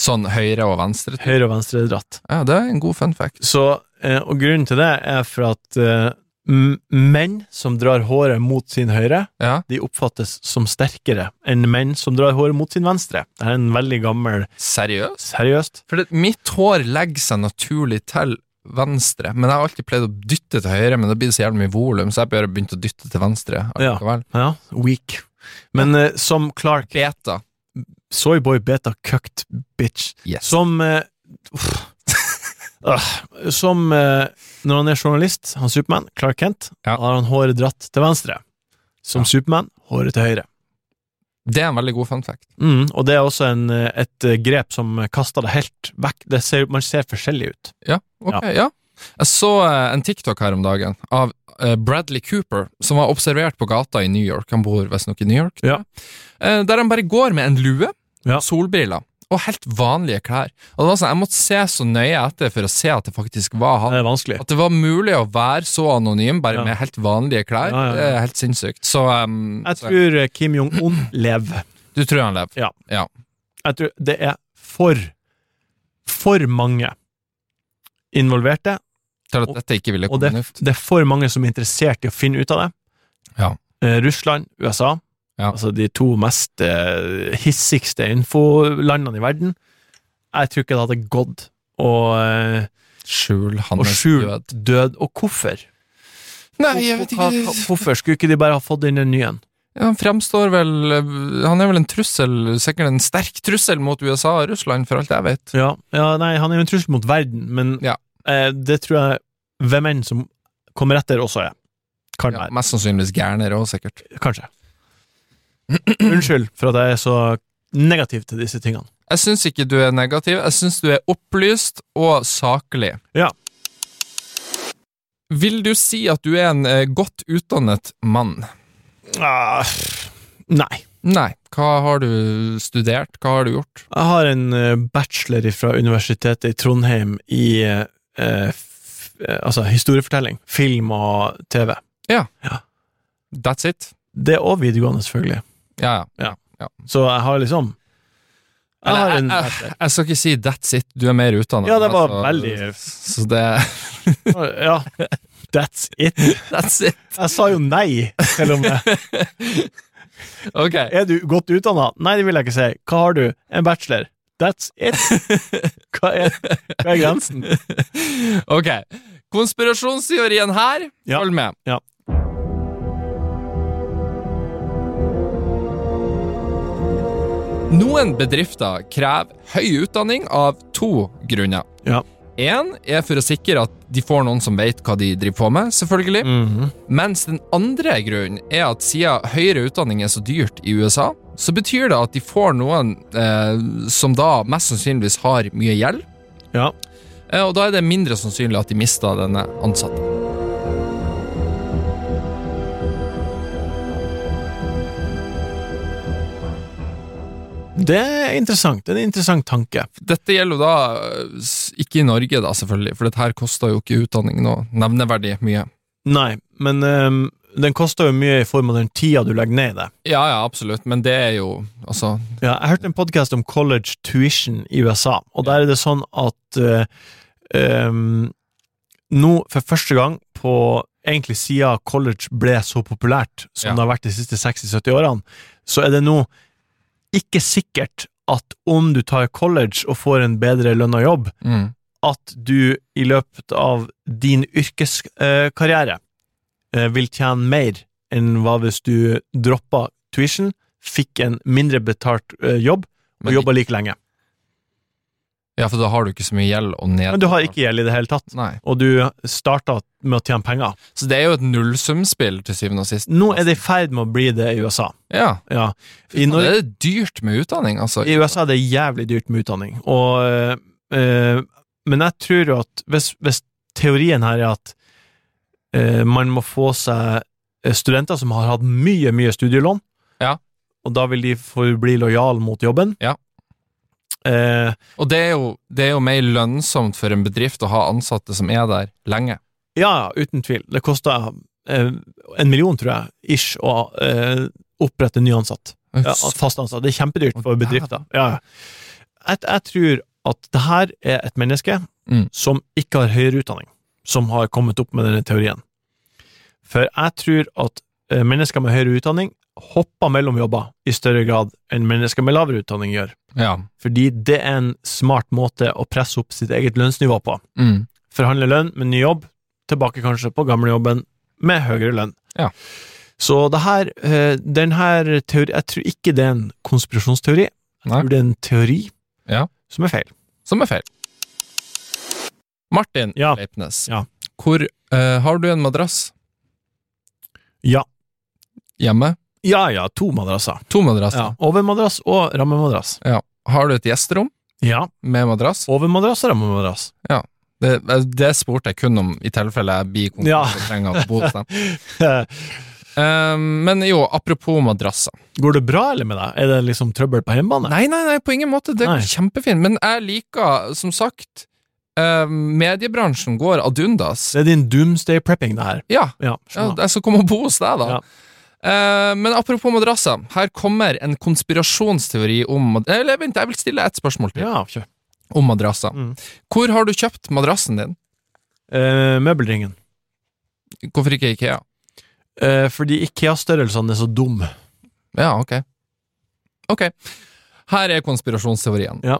A: Sånn høyre og venstre.
B: Høyre og venstre er dratt.
A: Ja, det er en god fun fact.
B: Så, eh, og grunnen til det er for at eh, m- menn som drar håret mot sin høyre,
A: Ja.
B: de oppfattes som sterkere enn menn som drar håret mot sin venstre. Det er en veldig gammel
A: Seriøst?
B: Seriøst?
A: For det, mitt hår legger seg naturlig til venstre, men jeg har alltid pleid å dytte til høyre, men det blir så jævlig mye volum, så jeg bare begynte å dytte til venstre.
B: Ja.
A: allikevel.
B: Ja, weak. Men eh, som Clark
A: Beta.
B: Soyboy beta cucked bitch.
A: Yes.
B: Som eh, uff. Ah, Som eh, når han er journalist, han Supermann, Clark Kent,
A: Ja.
B: har han håret dratt til venstre. Som
A: Ja.
B: Supermann, håret til høyre.
A: Det er en veldig god fun fact.
B: Mm, og det er også en, eh, et eh, grep som kaster det helt vekk. Det ser, man ser forskjellig ut.
A: Ja, ok, ja. Jeg så eh, en TikTok her om dagen av eh, Bradley Cooper, som var observert på gata i New York. Han bor visstnok i New York. tror jeg. Eh, Der han bare går med en lue,
B: Ja.
A: solbriller og helt vanlige klær. Og det var sånn, Jeg måtte se så nøye etter for å se at det faktisk var han.
B: Det er vanskelig.
A: At det var mulig å være så anonym, bare
B: Ja.
A: med helt vanlige klær,
B: Ja, ja, ja.
A: det er helt sinnssykt. Så, um,
B: Jeg
A: så
B: tror eh, Kim Jong-un lever.
A: Du tror han lever?
B: Ja.
A: ja.
B: Jeg tror det er for, for mange involverte
A: Til at dette ikke ville
B: Og det,
A: komme ut.
B: det er for mange som er interessert i å finne ut av det.
A: Ja.
B: Eh, Russland, USA,
A: Ja.
B: altså de to mest eh, hissigste infolandene i verden. Jeg tror ikke det hadde gått å, eh,
A: Skjul
B: å
A: hans
B: skjule
A: død.
B: død. Og hvorfor?
A: Nei, jeg vet
B: Hva-
A: ikke.
B: hva- Hvorfor skulle ikke de bare ha fått inn den nye?
A: Ja, Han fremstår vel eh, Han er vel en trussel, sikkert en sterk trussel mot USA og Russland, for alt jeg vet.
B: Ja. ja, nei, han er jo en trussel mot verden, men
A: Ja.
B: eh, det tror jeg hvem enn som kommer etter, også er. Kan
A: Ja,
B: være.
A: mest sannsynligvis gærnere òg, sikkert.
B: Kanskje. Unnskyld for at jeg er så negativ til disse tingene.
A: Jeg syns ikke du er negativ. Jeg syns du er opplyst og saklig.
B: Ja.
A: Vil du si at du er en eh, godt utdannet mann?
B: Ah, nei.
A: Nei. Hva har du studert? Hva har du gjort?
B: Jeg har en eh, bachelor fra Universitetet i Trondheim i eh, f eh, altså historiefortelling, film og TV.
A: That's it?
B: Det er òg videregående, selvfølgelig.
A: Ja, ja.
B: Så jeg har liksom Jeg har en
A: Eller, jeg, jeg, jeg skal ikke si 'that's it', du er mer utdannet.
B: Ja, det var
A: Altså,
B: veldig-
A: Så det
B: Ja, that's it.
A: That's it.
B: Jeg sa jo nei, selv om det.
A: Ok.
B: Er du godt utdanna? Nei, det vil jeg ikke si. Hva har du? En bachelor. That's it. Hva er, hva er grensen?
A: Ok. Konspirasjonsteorien her,
B: Ja.
A: følg med.
B: Ja.
A: Noen bedrifter krever høy utdanning av to grunner.
B: Ja.
A: Én er for å sikre at de får noen som vet hva de driver på med, selvfølgelig.
B: Mhm.
A: Mens den andre grunnen er at siden høyere utdanning er så dyrt i USA, så betyr det at de får noen eh, som da mest sannsynligvis har mye gjeld,
B: Ja.
A: eh, og da er det mindre sannsynlig at de mister denne ansatte.
B: Det er interessant. Det er en interessant tanke.
A: Dette gjelder jo da eh, s- ikke i Norge, da, selvfølgelig, for dette her koster jo ikke utdanning noe nevneverdig mye.
B: Nei, men ehm, den koster jo mye i form av den tida du legger ned i det.
A: Ja, ja, absolutt, men det er jo altså
B: Ja, jeg hørte en podkast om college tuition i USA, og der er det sånn at eh, ehm, nå, for første gang på egentlig siden college ble så populært som
A: Ja.
B: det har vært de siste 60-70 årene, så er det nå ikke sikkert at om du tar college og får en bedre lønna jobb,
A: mm.
B: at du i løpet av din yrkeskarriere eh, vil tjene mer enn hva hvis du droppa tuition, fikk en mindre betalt eh, jobb og
A: Men-
B: jobba like lenge.
A: Ja, for da har du ikke så mye gjeld å ned...
B: Men du har ikke gjeld i det hele tatt,
A: Nei.
B: og du starta med å tjene penger.
A: Så det er jo et nullsumspill til syvende og sist.
B: Nå er det i ferd med å bli det i USA.
A: Ja.
B: Ja. I,
A: Og
B: Norge,
A: det er dyrt med utdanning, altså.
B: I USA er det jævlig dyrt med utdanning, og, eh, eh, men jeg tror jo at hvis, hvis teorien her er at eh, man må få seg eh, studenter som har hatt mye, mye studielån,
A: Ja.
B: og da vil de forbli lojale mot jobben.
A: Ja.
B: Eh,
A: Og det er, jo, det er jo mer lønnsomt for en bedrift å ha ansatte som er der lenge.
B: ja, ja, uten tvil. Det koster eh, en million, tror jeg, ish, å eh, opprette nyansatt. Ja,
A: altså.
B: altså. fast ansatt. Det er kjempedyrt for
A: Og
B: bedrifter. Ja. ja. Jeg, jeg tror at det her er et menneske
A: Mm.
B: som ikke har høyere utdanning, som har kommet opp med denne teorien. For jeg tror at eh, mennesker med høyere utdanning hopper mellom jobber i større grad enn mennesker med lavere utdanning gjør.
A: Ja.
B: Fordi det er en smart måte å presse opp sitt eget lønnsnivå på.
A: Mm.
B: Forhandle lønn med ny jobb, tilbake kanskje på gamlejobben med høyere lønn.
A: Ja.
B: Så det her, eh, den her teori, jeg tror ikke det er en konspirasjonsteori. Jeg
A: Nei.
B: tror det er en teori
A: Ja.
B: som er feil.
A: Som er feil. Martin
B: Ja.
A: Leipnes,
B: Ja.
A: hvor eh, har du en madrass
B: Ja.
A: hjemme?
B: Ja, ja, to madrasser.
A: To madrasser.
B: Ja. Overmadrass og rammemadrass.
A: Ja. Har du et gjesterom
B: Ja,
A: med madrass?
B: overmadrass og rammemadrass.
A: Det, eh, det spurte jeg kun om i tilfelle jeg blir
B: Ja.
A: konkurranse og trenger å bo hos dem.
B: Eh,
A: Eh, men jo, apropos madrasser.
B: Går det bra eller med deg? Er det liksom trøbbel på hjemmebane?
A: Nei, nei, nei, på ingen måte. Det
B: Nei.
A: går kjempefint. Men jeg liker, som sagt, eh, mediebransjen går ad undas.
B: Det er din doomsday prepping, det her.
A: Ja,
B: Ja,
A: Ja,
B: skjønner.
A: jeg skal komme og bo hos deg, da.
B: Ja.
A: Eh, men apropos madrasser, her kommer en konspirasjonsteori om mad- Eh, Eller vent, jeg vil stille et spørsmål til
B: Ja, kjør.
A: om madrasser.
B: Mm.
A: Hvor har du kjøpt madrassen din?
B: Eh, møbelringen.
A: Hvorfor ikke Ikea?
B: Eh, fordi IKEA-størrelsene er så dumme.
A: Ja, ok. Ok. Her er konspirasjonsteorien.
B: Ja.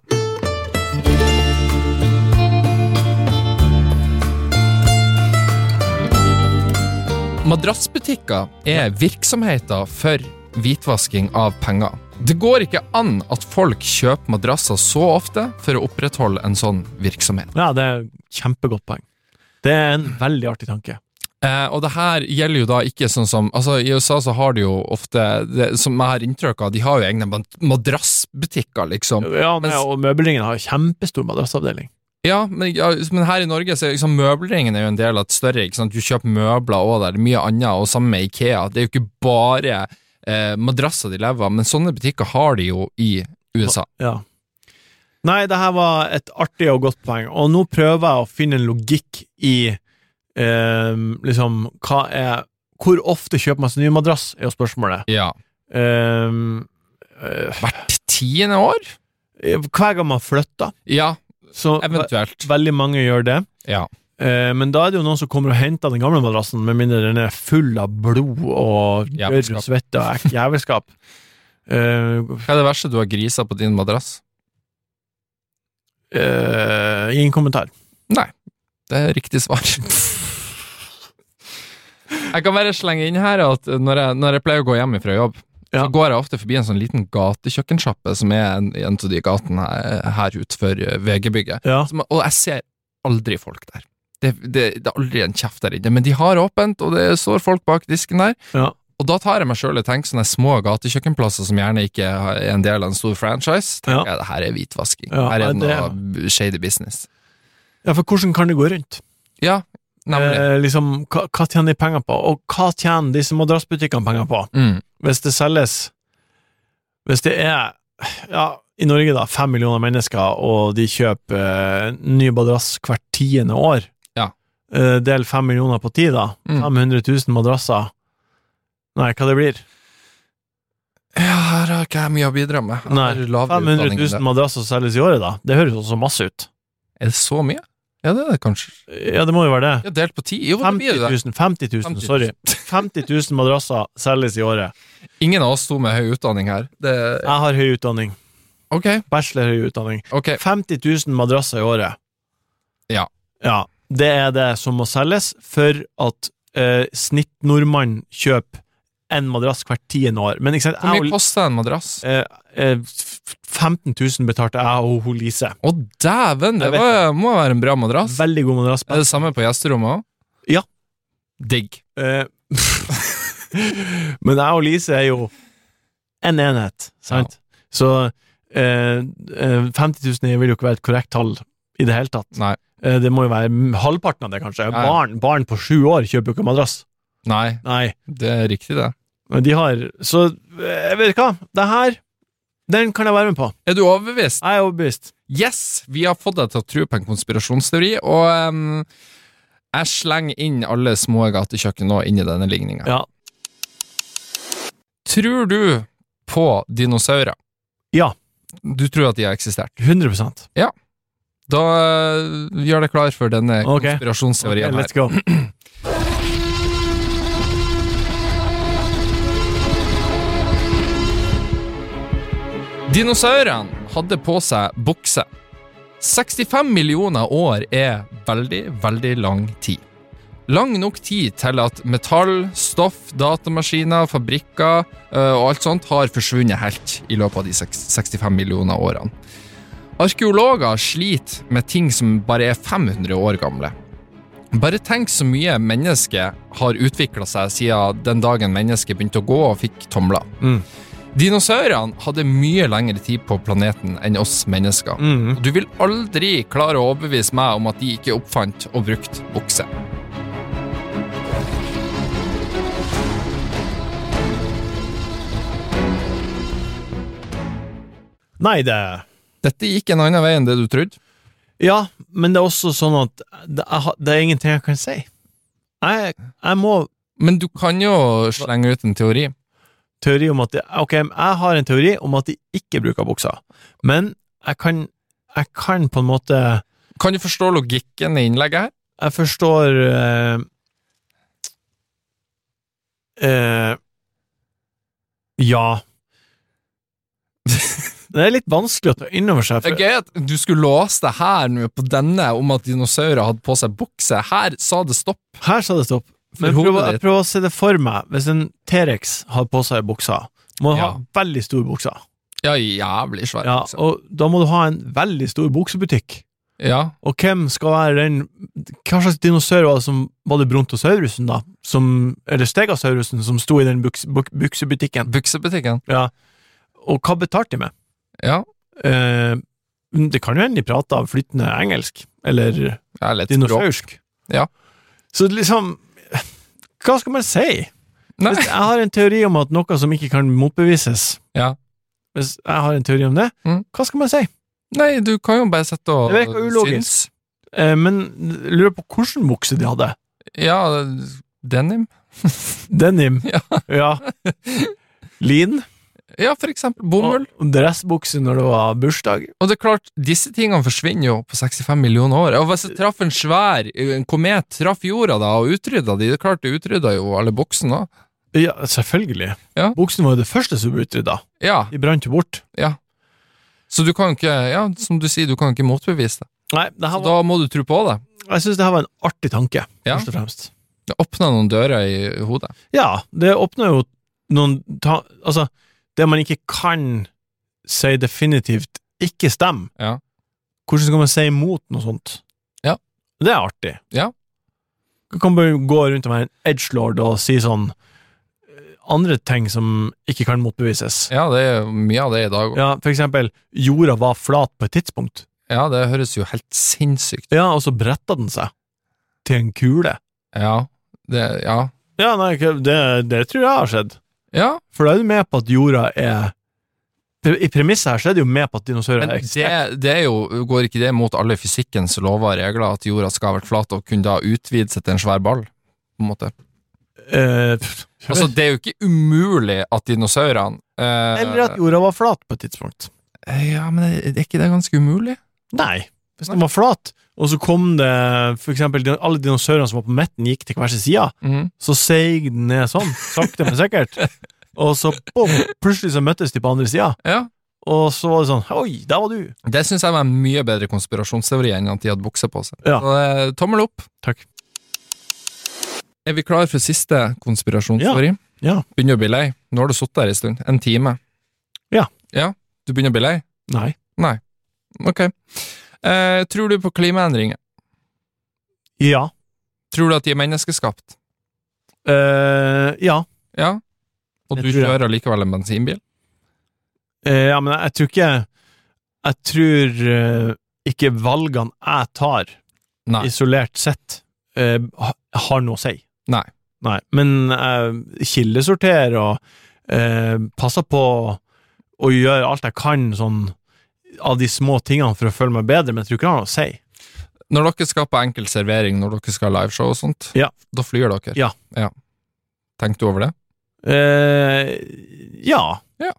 A: Madrassbutikker er virksomheter for hvitvasking av penger. Det går ikke an at folk kjøper madrasser så ofte for å opprettholde en sånn virksomhet.
B: Ja, det er kjempegodt poeng. Det er en veldig artig tanke.
A: Eh, og det her gjelder jo da ikke sånn som Altså, i USA så har de jo ofte, det, som jeg har inntrykk av, de har jo egne mad- madrassbutikker, liksom.
B: Ja, men,
A: Mens-
B: og møbelringen har kjempestor madrassavdeling.
A: Ja, men, ja, men her i Norge så er liksom møbelringen er jo en del av et større, ikke sant? Du kjøper møbler også der, det er mye annet, og sammen med Ikea. Det er jo ikke bare eh, madrasser de lever av, men sånne butikker har de jo i USA.
B: Ja. Nei, det her var et artig og godt poeng, og nå prøver jeg å finne en logikk i eh, liksom, hva er Hvor ofte kjøper man seg ny madrass, er jo spørsmålet.
A: Ja.
B: Eh, eh,
A: Hvert tiende år?
B: hver gang man flytter,
A: Ja,
B: så ve
A: eventuelt.
B: veldig mange gjør det.
A: Ja.
B: Eh, men da er det jo noen som kommer og henter den gamle madrassen, med mindre den er full av blod og
A: Jævelskap.
B: gørr og svette og ek- jævelskap. Eh,
A: Hva er det verste du har grisa på din madrass?
B: eh, ingen kommentar.
A: Det er riktig svar. Jeg kan bare slenge inn her at når jeg, når jeg pleier å gå hjem fra jobb,
B: Ja.
A: så går jeg ofte forbi en sånn liten gatekjøkkensjappe som er en, en av de gatene her, her utenfor eh, VG-bygget.
B: Ja.
A: Som- Og jeg ser aldri folk der. Det, det, det er aldri en kjeft der inne, men de har åpent, og det står folk bak disken der.
B: Ja.
A: Og da tar jeg meg sjøl og tenker sånne små gatekjøkkenplasser som gjerne ikke er en del av en stor franchise.
B: Ja.
A: Tenker jeg, det her er hvitvasking.
B: Ja,
A: her er det
B: nei,
A: noe shady business.
B: Ja, for hvordan kan det gå rundt?
A: Ja, nemlig.
B: Eh, liksom, hva, hva tjener de penger på, og hva tjener disse madrassbutikkene penger på?
A: Mm.
B: Hvis det selges Hvis det er, ja, i Norge da, fem millioner mennesker, og de kjøper eh, ny madrass hvert tiende år
A: Ja.
B: eh, Del fem millioner på ti, da.
A: Mm.
B: 500 000 madrasser. Nei, hva det blir?
A: Ja, her har ikke jeg mye å bidra med. Jeg
B: Nei,
A: har lavere
B: 500
A: utdanning enn
B: 000 madrasser selges i året, da. Det høres også masse ut.
A: det. Er det så mye? Ja, det er det kanskje.
B: Ja, det må jo være
A: Ja,
B: det.
A: delt på ti? Jo, det
B: 50
A: blir det.
B: 000, 50 000,
A: 50 000.
B: sorry. 50 000 madrasser selges i året.
A: Ingen av oss to med høy utdanning her. Det,
B: Jeg har høy utdanning.
A: ok,
B: Bachelor høy utdanning.
A: ok.
B: 50 000 madrasser i året.
A: Ja.
B: Ja. Det er det som må selges for at eh, snittnordmann kjøper en madrass hvert tiende år. Men ikke sant,
A: Hvor
B: jeg
A: mye
B: og,
A: koster en madrass?
B: eh, eh, f- 15 000 betalte jeg og hun Lise.
A: Å, dæven! Det
B: Jeg vet
A: var, må være en bra madrass.
B: Veldig god madrass.
A: Er det samme på gjesterommet òg?
B: Ja.
A: Digg.
B: Eh, Men jeg og Lise er jo en enhet, sant? Så eh, eh, 50 000 vil jo ikke være et korrekt tall i det hele tatt.
A: Nei.
B: Eh, det må jo være m- halvparten av det, kanskje.
A: Ja, ja.
B: Barn, barn på sju år kjøper jo ikke madrass.
A: Nei,
B: Nei.
A: det er riktig, det.
B: Men de har Så eh, vet du hva? Det her, den kan jeg være med på.
A: Er du overbevist?
B: Jeg er overbevist.
A: Yes! Vi har fått deg til å tro på en konspirasjonsteori, og em, jeg slenger inn alle små gatekjøkken nå inn i denne ligninga.
B: Ja.
A: Tror du på dinosaurer?
B: Ja.
A: Du tror at de har eksistert?
B: 100
A: Da eh, gjør deg klar for denne
B: Ok.
A: konspirasjonsteorien
B: Ok, Eh, Let's go.
A: her. Dinosaurene hadde på seg bukse. 65 millioner år er veldig, veldig lang tid. Lang nok tid til at metall, stoff, datamaskiner, fabrikker eh, og alt sånt har forsvunnet helt i løpet av de seks- 65 millioner årene. Arkeologer sliter med ting som bare er 500 år gamle. Bare tenk så mye mennesket har utvikla seg siden den dagen mennesket begynte å gå og fikk tomler.
B: Mm.
A: Dinosaurene hadde mye lengre tid på planeten enn oss mennesker.
B: Mm.
A: Du vil aldri klare å overbevise meg om at de ikke oppfant og brukte bukse.
B: Nei, det
A: Dette gikk en annen vei enn det du trodde.
B: Ja, men det er også sånn at det, jeg, har- det er ingenting jeg kan si. Jeg, jeg må
A: Men du kan jo slenge ut en teori.
B: teori om at det, Ok, jeg har en teori om at de ikke bruker bukser, men jeg kan, jeg kan på en måte
A: Kan du forstå logikken i innlegget her?
B: Jeg forstår eh, eh, Ja. Det er litt vanskelig å ta inn over seg.
A: Det
B: For,
A: er gøy at du skulle låse det her nå på denne om at dinosaurer hadde på seg bukse. Her sa det stopp.
B: Her sa det stopp. Men
A: For
B: prøv,
A: hodet
B: jeg prøver å se det for meg. Hvis en T-rex har på seg buksa, må han
A: Ja.
B: ha veldig stor buksa.
A: Ja, jævlig altså. svær
B: Ja,
A: bukse.
B: og da må du ha en veldig stor buksebutikk.
A: Ja.
B: Og hvem skal være den Hva slags dinosaur var det som Var det Brontosaurusen, da? Som, eller Stegasaurusen, som sto i den buks, buk, buksebutikken?
A: Buksebutikken.
B: Og hva betalte de med?
A: Ja.
B: Eh, det kan jo hende de prata flytende engelsk, eller
A: Jeg er litt språk.
B: dinosaursk.
A: Ja.
B: Så liksom Hva skal man si?
A: Nei.
B: Hvis jeg har en teori om at noe som ikke kan motbevises
A: Ja.
B: Hvis jeg har en teori om det,
A: Mm.
B: hva skal man si?
A: Nei, du kan jo bare sitte og
B: Det virker ulogisk.
A: synes.
B: Eh, men jeg lurer på hvilken bukse de hadde.
A: Ja, denim.
B: Denim.
A: Ja.
B: ja. Lin.
A: Ja, for eksempel bomull.
B: Og dressbukse når det var bursdag.
A: Og det er klart, disse tingene forsvinner jo på 65 millioner år. Og hvis det traff en svær en komet, traff jorda da og utrydda de, det er klart det utrydda jo alle buksene da.
B: Ja, selvfølgelig.
A: Ja.
B: Buksen var jo det første som ble utrydda.
A: Ja,
B: De brant jo bort.
A: så du kan ikke, ja, som du sier, du kan ikke motbevise det.
B: Nei, det
A: Så
B: her var,
A: da må du tro på det.
B: jeg syns det her var en artig tanke,
A: Ja.
B: først og fremst.
A: Det åpner noen dører i hodet.
B: Ja, det åpner jo noen ta, Altså, det man ikke kan si definitivt ikke stemmer,
A: Ja.
B: hvordan skal man si imot noe sånt?
A: Ja.
B: Det er artig.
A: Ja.
B: Du kan bare gå rundt og være en edgelord og si sånn eh, andre ting som ikke kan motbevises.
A: Ja, det er mye av det i dag. Ja.
B: Ja, for eksempel, jorda var flat på et tidspunkt.
A: det høres jo helt sinnssykt ut.
B: Ja, og så bretta den seg til en kule.
A: Ja. Det, ja.
B: Ja, nei, ikke- det, det tror jeg har skjedd.
A: ja.
B: For da er du med på at jorda er I premisset her så er det jo med på at dinosaurer
A: Men
B: er
A: det, det er jo, går ikke det mot alle fysikkens lover og regler, at jorda skal ha vært flat og kunne da utvide seg til en svær ball? På en måte.
B: Eh, pff,
A: Altså, det er jo ikke umulig at dinosaurene eh,
B: Eller at jorda var flat på et tidspunkt.
A: Ja, men er er ikke det ganske umulig?
B: Nei, hvis den var flat, og så kom det for eksempel din- alle dinosaurene som var på midten, gikk til hver sin side,
A: Mhm.
B: så seig den ned sånn, sakte, men sikkert. Og så bom, plutselig så møttes de på andre sida,
A: Ja.
B: og så var det sånn Oi, der var du!
A: Det syns jeg var en mye bedre konspirasjonsteori enn at de hadde bukse på seg.
B: Ja.
A: Så, eh, tommel opp.
B: Takk.
A: Er vi klar for siste konspirasjonsteori?
B: Ja.
A: Begynner å bli lei. Nå har du sittet her en stund. En time.
B: Ja.
A: Ja, Du begynner å bli lei?
B: Nei.
A: Ok. Eh, tror du på klimaendringer?
B: Ja.
A: Tror du at de er menneskeskapt?
B: Eh, ja.
A: Ja. Og
B: Jeg
A: du
B: tror
A: kjører likevel en bensinbil?
B: Eh, ja, men jeg tror ikke Jeg tror eh, ikke valgene jeg tar,
A: Nei.
B: isolert sett, eh, ha- har noe å si.
A: Nei.
B: Nei, men jeg kildesorterer og eh, passer på å gjøre alt jeg kan sånn av de små tingene for å føle meg bedre, men jeg tror ikke det har noe å si.
A: Når dere skal på enkel servering, når dere skal ha liveshow og sånt,
B: Ja.
A: da flyr dere?
B: Ja.
A: Tenkte du over det?
B: Eh, ja.
A: Ja.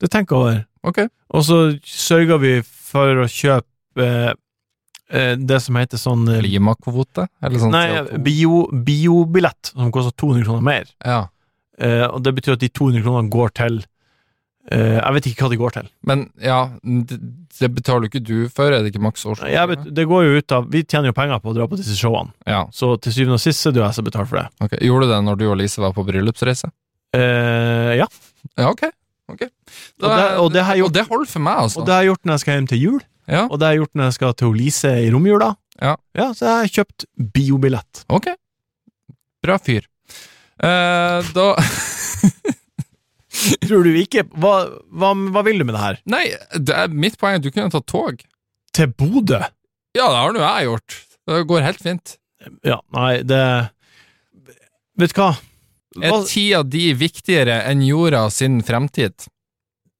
B: Det tenker jeg over.
A: Ok.
B: Og så sørger vi for å kjøpe eh, eh, det som heter sånn eh,
A: Klimakvote? Eller sånn
B: Nei,
A: CO2?
B: bio- biobillett, som koster 200 kroner mer.
A: Ja.
B: Eh, og det betyr at de 200 kronene går til eh, Jeg vet ikke hva de går til.
A: Men ja, det, det betaler jo ikke du for, er det ikke maks års?
B: Jeg vet, det går jo ut av Vi tjener jo penger på å dra på disse showene,
A: Ja,
B: så til syvende og sist er det jo jeg som betaler for det.
A: ok. Gjorde du det når du og Lise var på bryllupsreise?
B: Eh, ja.
A: Ja, ok. ok. Da,
B: Og det- og det har gjort-
A: og det holder for meg, altså.
B: Og det har jeg gjort når jeg skal hjem til jul,
A: Ja,
B: og det har jeg gjort når jeg skal til Lise i romjula.
A: Ja.
B: Så jeg har kjøpt biobillett.
A: ok. Bra fyr. Eh, da
B: Tror du ikke Hva, hva, hva vil du med det her?
A: Nei, det er mitt poeng er at du kunne tatt tog.
B: Til Bodø?
A: Ja, det har nå jeg gjort. Det går helt fint.
B: Ja, nei, det Vet du hva?
A: Er
B: Hva-
A: tida di viktigere enn jorda sin fremtid?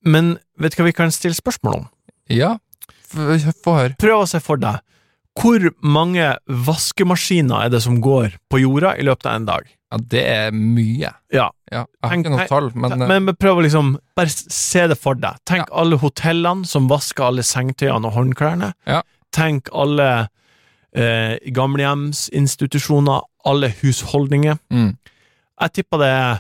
B: Men vet du hva vi kan stille spørsmål om?
A: Ja, F- få høre.
B: Prøv å se for deg hvor mange vaskemaskiner er det som går på jorda i løpet av en dag?
A: Ja, det er mye.
B: Ja.
A: Ja, jeg har
B: Tenk-
A: ikke noe
B: nei,
A: tall, men eh,
B: Men prøv å liksom bare s- se det for deg. Tenk alle hotellene som vasker alle sengetøyene og håndklærne.
A: Ja.
B: Tenk alle eh, gamlehjemsinstitusjoner, alle husholdninger.
A: Mm.
B: Jeg tipper det er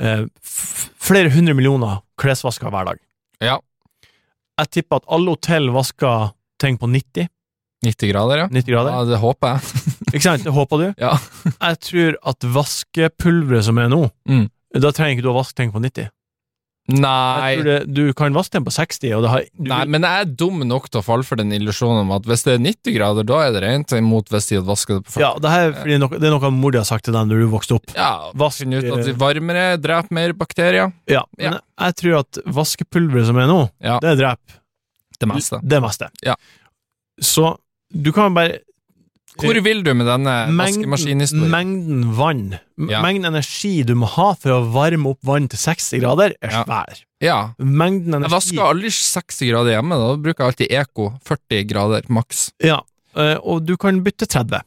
B: eh, f flere hundre millioner klesvasker hver dag.
A: Ja.
B: Jeg tipper at alle hotell vasker ting på 90,
A: 90 grader, ja.
B: 90 grader.
A: ja. Det håper jeg.
B: Ikke sant? Det håper du?
A: Ja.
B: Jeg tror at vaskepulveret som er nå,
A: Mm.
B: da trenger ikke du å vaske ting på 90. Jeg tror
A: Nei,
B: det, du kan vaske ting på 60, og det har du,
A: nei, men jeg er dum nok til å falle for den illusjonen om at hvis det er 90 grader, da er det rent, imot hvis de hadde vasket det på 40.
B: Ja, det, her, er fordi noe, det er noe mor di har sagt til deg når du vokste opp.
A: Ja,
B: Vask-
A: finne ut at de varmere dreper mer bakterier.
B: Ja, men jeg tror at vaskepulveret som er nå,
A: Ja.
B: det dreper
A: Det meste.
B: det meste.
A: Ja.
B: Så du kan bare
A: Hvor vil du med denne
B: Mengden,
A: vaskemaskinhistorien?
B: mengden vann, m-
A: Ja.
B: mengden energi du må ha for å varme opp vann til 60 grader, er
A: Ja.
B: svær.
A: Ja.
B: Mengden
A: Jeg
B: energi
A: vasker aldri 60 grader hjemme, da bruker jeg alltid Eco 40 grader maks.
B: Ja, eh, og du kan bytte 30.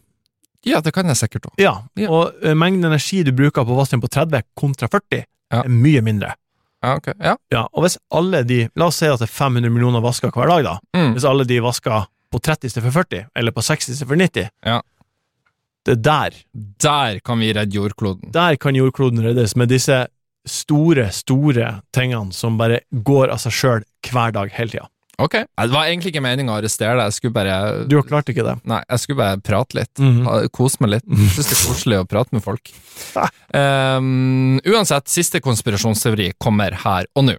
A: Ja, det kan jeg sikkert òg.
B: Ja,
A: Ja.
B: og eh, mengden energi du bruker på vasken på 30 kontra 40
A: Ja.
B: er mye mindre.
A: Ja, ok. ja.
B: Ja, og hvis alle de, la oss si at det er 500 millioner vasker hver dag da,
A: Mm.
B: hvis alle de vasker på 30 stedet for 40, eller på 60 stedet for 90,
A: Ja.
B: det er der,
A: Der kan vi redde jordkloden.
B: der kan jordkloden reddes med disse store, store tingene som bare går av seg selv hver dag hele tiden.
A: Ok. Nei, Det var egentlig ikke meningen å arrestere deg, jeg skulle bare
B: Du har klart ikke det.
A: Nei, jeg skulle bare prate litt. Ha- Kose meg litt. Syns det er koselig å prate med folk. Ehm, uansett, siste konspirasjonsteori kommer her og nå.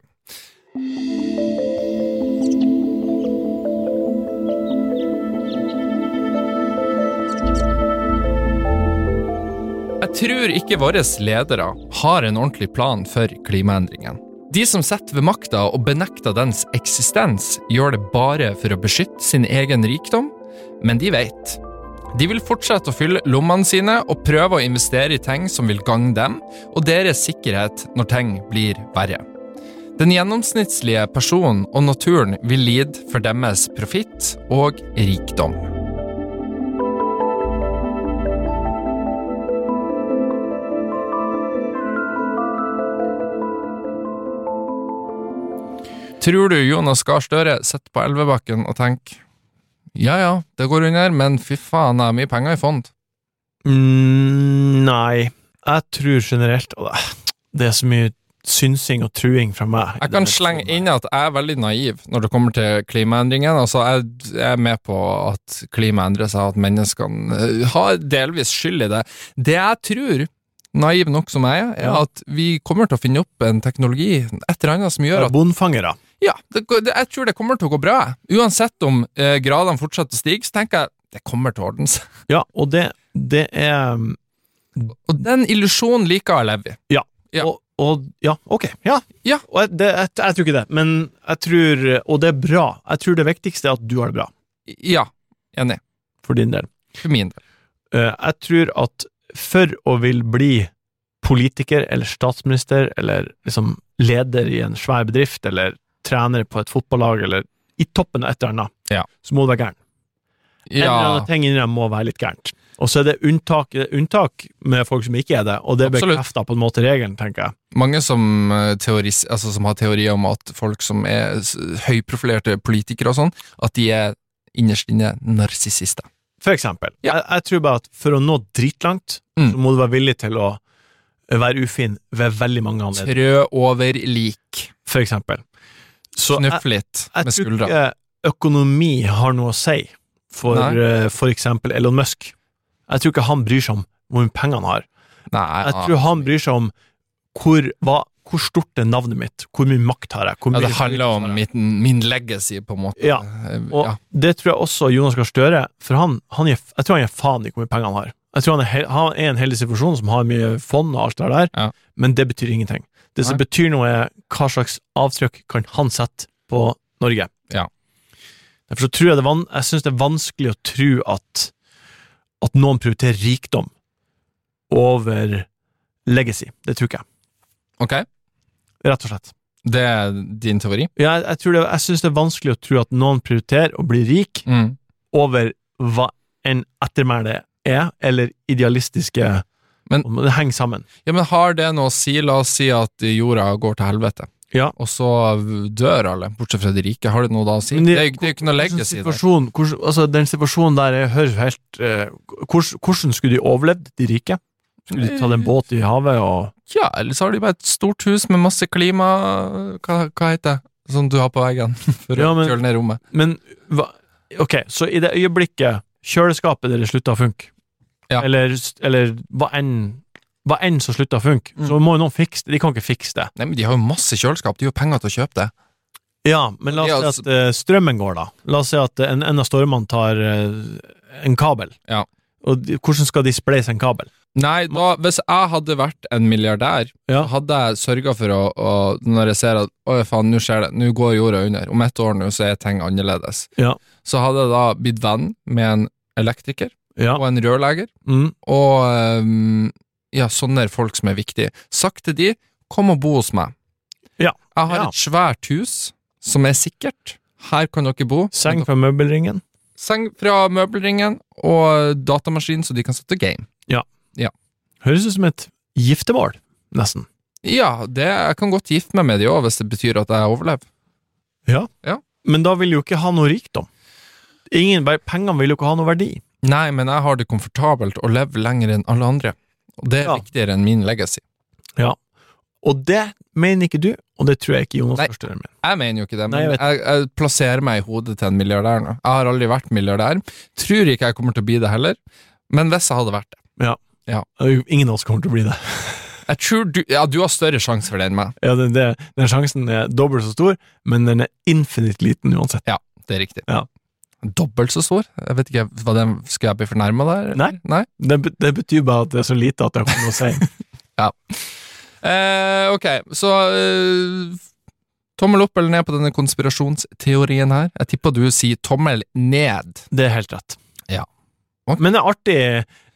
A: Jeg tror ikke våre ledere har en ordentlig plan for klimaendringene. De som sitter ved makta og benekter dens eksistens, gjør det bare for å beskytte sin egen rikdom, men de vet. De vil fortsette å fylle lommene sine og prøve å investere i ting som vil gagne dem og deres sikkerhet når ting blir verre. Den gjennomsnittlige personen og naturen vil lide for deres profitt og rikdom. Tror du Jonas Gahr Støre sitter på Elvebakken og tenker ja ja, det går under, men fy faen, jeg har mye penger i fond.
B: Mm, nei. Jeg tror generelt Åh, Det er så mye synsing og truing fra meg.
A: Jeg kan slenge inn at jeg er veldig naiv når det kommer til klimaendringene. Altså, jeg er med på at klimaet endrer seg, at menneskene eh, har delvis skyld i det. Det jeg tror, naiv nok som jeg er, er
B: Ja.
A: at vi kommer til å finne opp en teknologi, et eller annet som gjør at
B: Bondfangere.
A: Ja, det, går- det, jeg tror det kommer til å gå bra. jeg. Uansett om eh, gradene fortsetter å stige, så tenker jeg det kommer til å ordne seg.
B: Ja, og det, det er um,
A: Og den illusjonen liker jeg å leve i. Ja.
B: Og, og Ja, ok. Ja.
A: Ja.
B: Og jeg, det, jeg, jeg tror ikke det, men jeg tror Og det er bra. Jeg tror det viktigste er at du har det bra,
A: Ja, enig.
B: for din del.
A: For min del.
B: Eh, Jeg tror at for å vil bli politiker eller statsminister eller liksom leder i en svær bedrift eller trener på et fotballag eller i toppen av et eller annet,
A: Ja.
B: så må du være gæren. En eller
A: Ja,
B: annen ting inni deg må være litt gærent. Og så er det unntak, det er unntak med folk som ikke er det, og det
A: Absolutt.
B: bekrefter på en måte regelen, tenker jeg.
A: mange som, eh, teoris, altså, som har teorier om at folk som er s- høyprofilerte politikere og sånn, at de er innerst inne narsissister.
B: For eksempel.
A: Ja.
B: Jeg, jeg tror bare at for å nå dritlangt,
A: Mm.
B: så må du være villig til å være ufin ved veldig mange anledninger,
A: Trø over lik.
B: for eksempel. Så jeg-
A: Knuff litt med
B: Jeg tror
A: skuldra.
B: ikke økonomi har noe å si for
A: Nei.
B: eh, for eksempel Elon Musk. Jeg tror ikke han bryr seg om hvor mye penger han har.
A: Nei,
B: Jeg
A: ja.
B: tror han bryr seg om hvor, hva, hvor stort er navnet mitt, hvor mye makt har jeg, hvor
A: ja,
B: mye
A: det handler om
B: innflytelse har jeg?
A: min, min legacy, på en måte.
B: Ja,
A: Eh,
B: Og
A: ja.
B: det tror jeg også Jonas Gahr Støre, for han, han gir, jeg tror han gir faen i hvor mye penger han har. Jeg tror han er, hel- han er en heldig situasjon som har mye fond og alt det der,
A: Ja.
B: men det betyr ingenting. Det som
A: Nei.
B: betyr noe, er hva slags avtrykk kan han sette på Norge.
A: Ja.
B: Derfor så tror jeg det, er van- jeg synes det er vanskelig å tro at, at noen prioriterer rikdom over legacy. Det tror ikke jeg,
A: Ok,
B: rett og slett.
A: det er din teori.
B: Jeg, jeg, tror det, jeg synes det er vanskelig å tro at noen prioriterer å bli rik
A: Mm.
B: over hva en ettermæle er, eller idealistiske
A: Men-
B: Om Det henger sammen.
A: Ja, men har det noe å si? La oss si at jorda går til helvete,
B: Ja.
A: og så dør alle, bortsett fra de rike. Har det noe da å si?
B: Men
A: Det,
B: de-
A: er jo ikke- det er jo ikke noe
B: Hvordan
A: legacy der.
B: situasjon, hvordan, altså, den situasjonen der jeg hører helt eh, hvordan, hvordan skulle de overlevd, de rike? Skulle de tatt en båt i havet og
A: Ja, eller så har de bare et stort hus med masse klima... Hva, hva heter det? Som du har på veggen for
B: Ja, men-
A: å kjøle ned rommet.
B: Men hva, ok, så i det øyeblikket kjøleskapet deres slutta å funke,
A: Ja.
B: eller, eller hva enn hva enn som slutta å funke,
A: Mm.
B: så må jo noen fikse det. De kan ikke fikse det.
A: Nei, men de har jo masse kjøleskap, de har jo penger til å kjøpe det.
B: Ja, men la oss
A: Ja, altså-
B: si at eh, strømmen går, da. La oss si at eh, en, en av stormene tar eh, en kabel.
A: Ja.
B: Og de, hvordan skal de spleise en kabel?
A: Nei, da, hvis jeg hadde vært en milliardær,
B: Ja.
A: hadde jeg sørga for å, å Når jeg ser at Å, faen, nå skjer det. Nå går jorda under. Om ett år nå så er ting annerledes.
B: Ja.
A: Så hadde jeg da blitt venn med en elektriker
B: Ja.
A: og en rørlegger
B: Mm.
A: og ehm, ja, sånne er folk som er viktige. Sagt til de, kom og bo hos meg.
B: Ja.
A: Jeg har
B: Ja.
A: et svært hus som er sikkert. Her kan dere bo.
B: Seng fra møbelringen.
A: Seng fra møbelringen og datamaskin, så de kan sette game.
B: Høres ut som et giftermål, nesten.
A: Ja, det, jeg kan godt gifte meg med de òg, hvis det betyr at jeg overlever.
B: Men da vil de jo ikke ha noe rikdom. Ingen, bare Pengene vil jo ikke ha noe verdi.
A: Nei, men jeg har det komfortabelt og lever lenger enn alle andre. Og det er
B: Ja.
A: viktigere enn min legacy.
B: Og det mener ikke du, og det tror jeg ikke Jonas
A: Nei.
B: forstår. Men.
A: Jeg mener jo ikke det, men
B: Nei, jeg
A: jeg,
B: vet
A: jeg, plasserer meg i hodet til en milliardær nå. Jeg har aldri vært milliardær. Tror ikke jeg kommer til å bli det heller, men hvis jeg hadde vært det
B: Ingen av oss kommer til å bli det.
A: Jeg tror du, ja, du har større sjanse for det enn meg.
B: Ja, den, det, den sjansen er dobbelt så stor, men den er infinite liten uansett.
A: Det er riktig.
B: Ja.
A: Dobbelt så stor? Jeg vet ikke, hva den, Skal jeg bli fornærma der? eller?
B: Nei.
A: Nei?
B: Det, be- det betyr bare at det er så lite at det har ikke noe å si.
A: Eh, ok, så eh, Tommel opp eller ned på denne konspirasjonsteorien her? Jeg tipper du sier tommel ned.
B: Det er helt rett.
A: Ja. Ok.
B: Men det er artig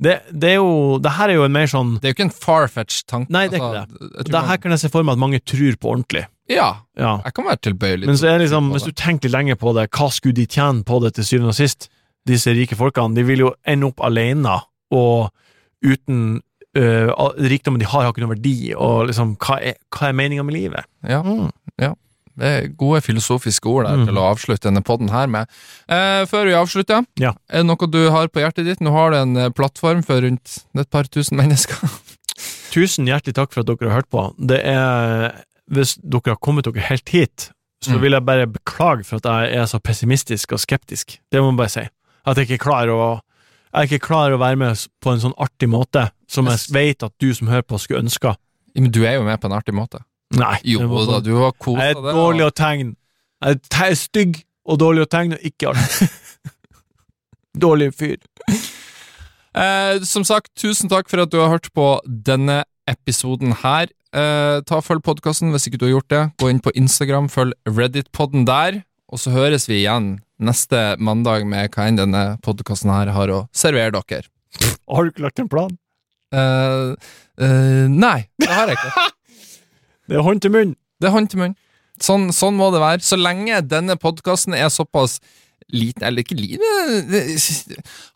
B: det, det er jo Det her er jo en mer sånn
A: Det er jo ikke en farfetched tanke. altså.
B: Nei, det er ikke
A: det.
B: Det her kan jeg se for meg at mange tror på ordentlig.
A: Ja,
B: Ja.
A: jeg kan være tilbøyelig.
B: Men
A: til
B: så er
A: å
B: det liksom,
A: tro på
B: hvis du tenker litt lenger på det, hva skulle de tjene på det til syvende og sist? Disse rike folkene, de vil jo ende opp alene, og uten øh, all- Rikdommen de har, har ikke noen verdi, og liksom, hva er, hva er meninga med livet?
A: Ja. Det er gode filosofiske ord der
B: Mm.
A: til å avslutte denne podden her med. Eh, før vi avslutter,
B: Ja.
A: er det noe du har på hjertet ditt? Nå har du en eh, plattform for rundt et par tusen mennesker.
B: Tusen hjertelig takk for at dere har hørt på. Det er, hvis dere har kommet dere helt hit, så
A: Mm.
B: vil jeg bare beklage for at jeg er så pessimistisk og skeptisk. Det må jeg bare si. At jeg ikke klarer å jeg er ikke klar å være med på en sånn artig måte som jeg vet at du som hører på, skulle ønske.
A: Ja, Men du er jo med på en artig måte.
B: Nei.
A: Jo
B: det var
A: da,
B: sånn-
A: du har kosa
B: Jeg er
A: deg.
B: dårlig å tegne. Jeg er te- stygg og dårlig å tegne, og ikke artig. dårlig fyr.
A: Eh, som sagt, tusen takk for at du har hørt på denne episoden her. Eh, ta og Følg podkasten hvis ikke du har gjort det. Gå inn på Instagram, følg Reddit-podden der, og så høres vi igjen neste mandag med hva enn denne podkasten her har å servere dere.
B: Har du ikke lagt en plan?
A: Eh, eh, nei, det har jeg ikke.
B: Det er hånd til munn.
A: Det er hånd til munn. Sånn, sånn må det være. Så lenge denne podkasten er såpass liten Eller ikke liten det-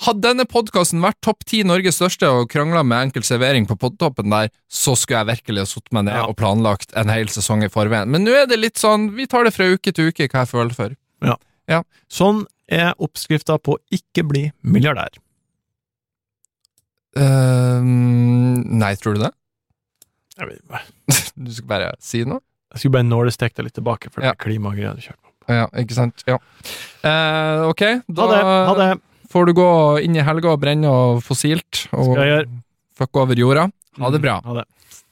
A: Hadde denne podkasten vært topp ti Norges største og krangla med enkel servering på podtoppen der, så skulle jeg virkelig ha satt meg ned
B: Ja.
A: og planlagt en hel sesong i forveien. Men nå er det litt sånn Vi tar det fra uke til uke hva jeg føler for.
B: Sånn er oppskrifta på ikke bli milliardær.
A: Eh, nei, tror du det?
B: Jeg, vet, ikke.
A: Du skal bare si noe?
B: jeg skulle bare nålesteke deg litt tilbake for
A: Ja.
B: det klimagreia du kjørte på.
A: Ja, ikke sant? Ja. Eh, ok,
B: Ha det! Ha det!
A: får du gå inn i helga og brenne og fossilt og
B: Skal jeg gjøre.
A: fucke over jorda. Ha det bra.
B: Ha det.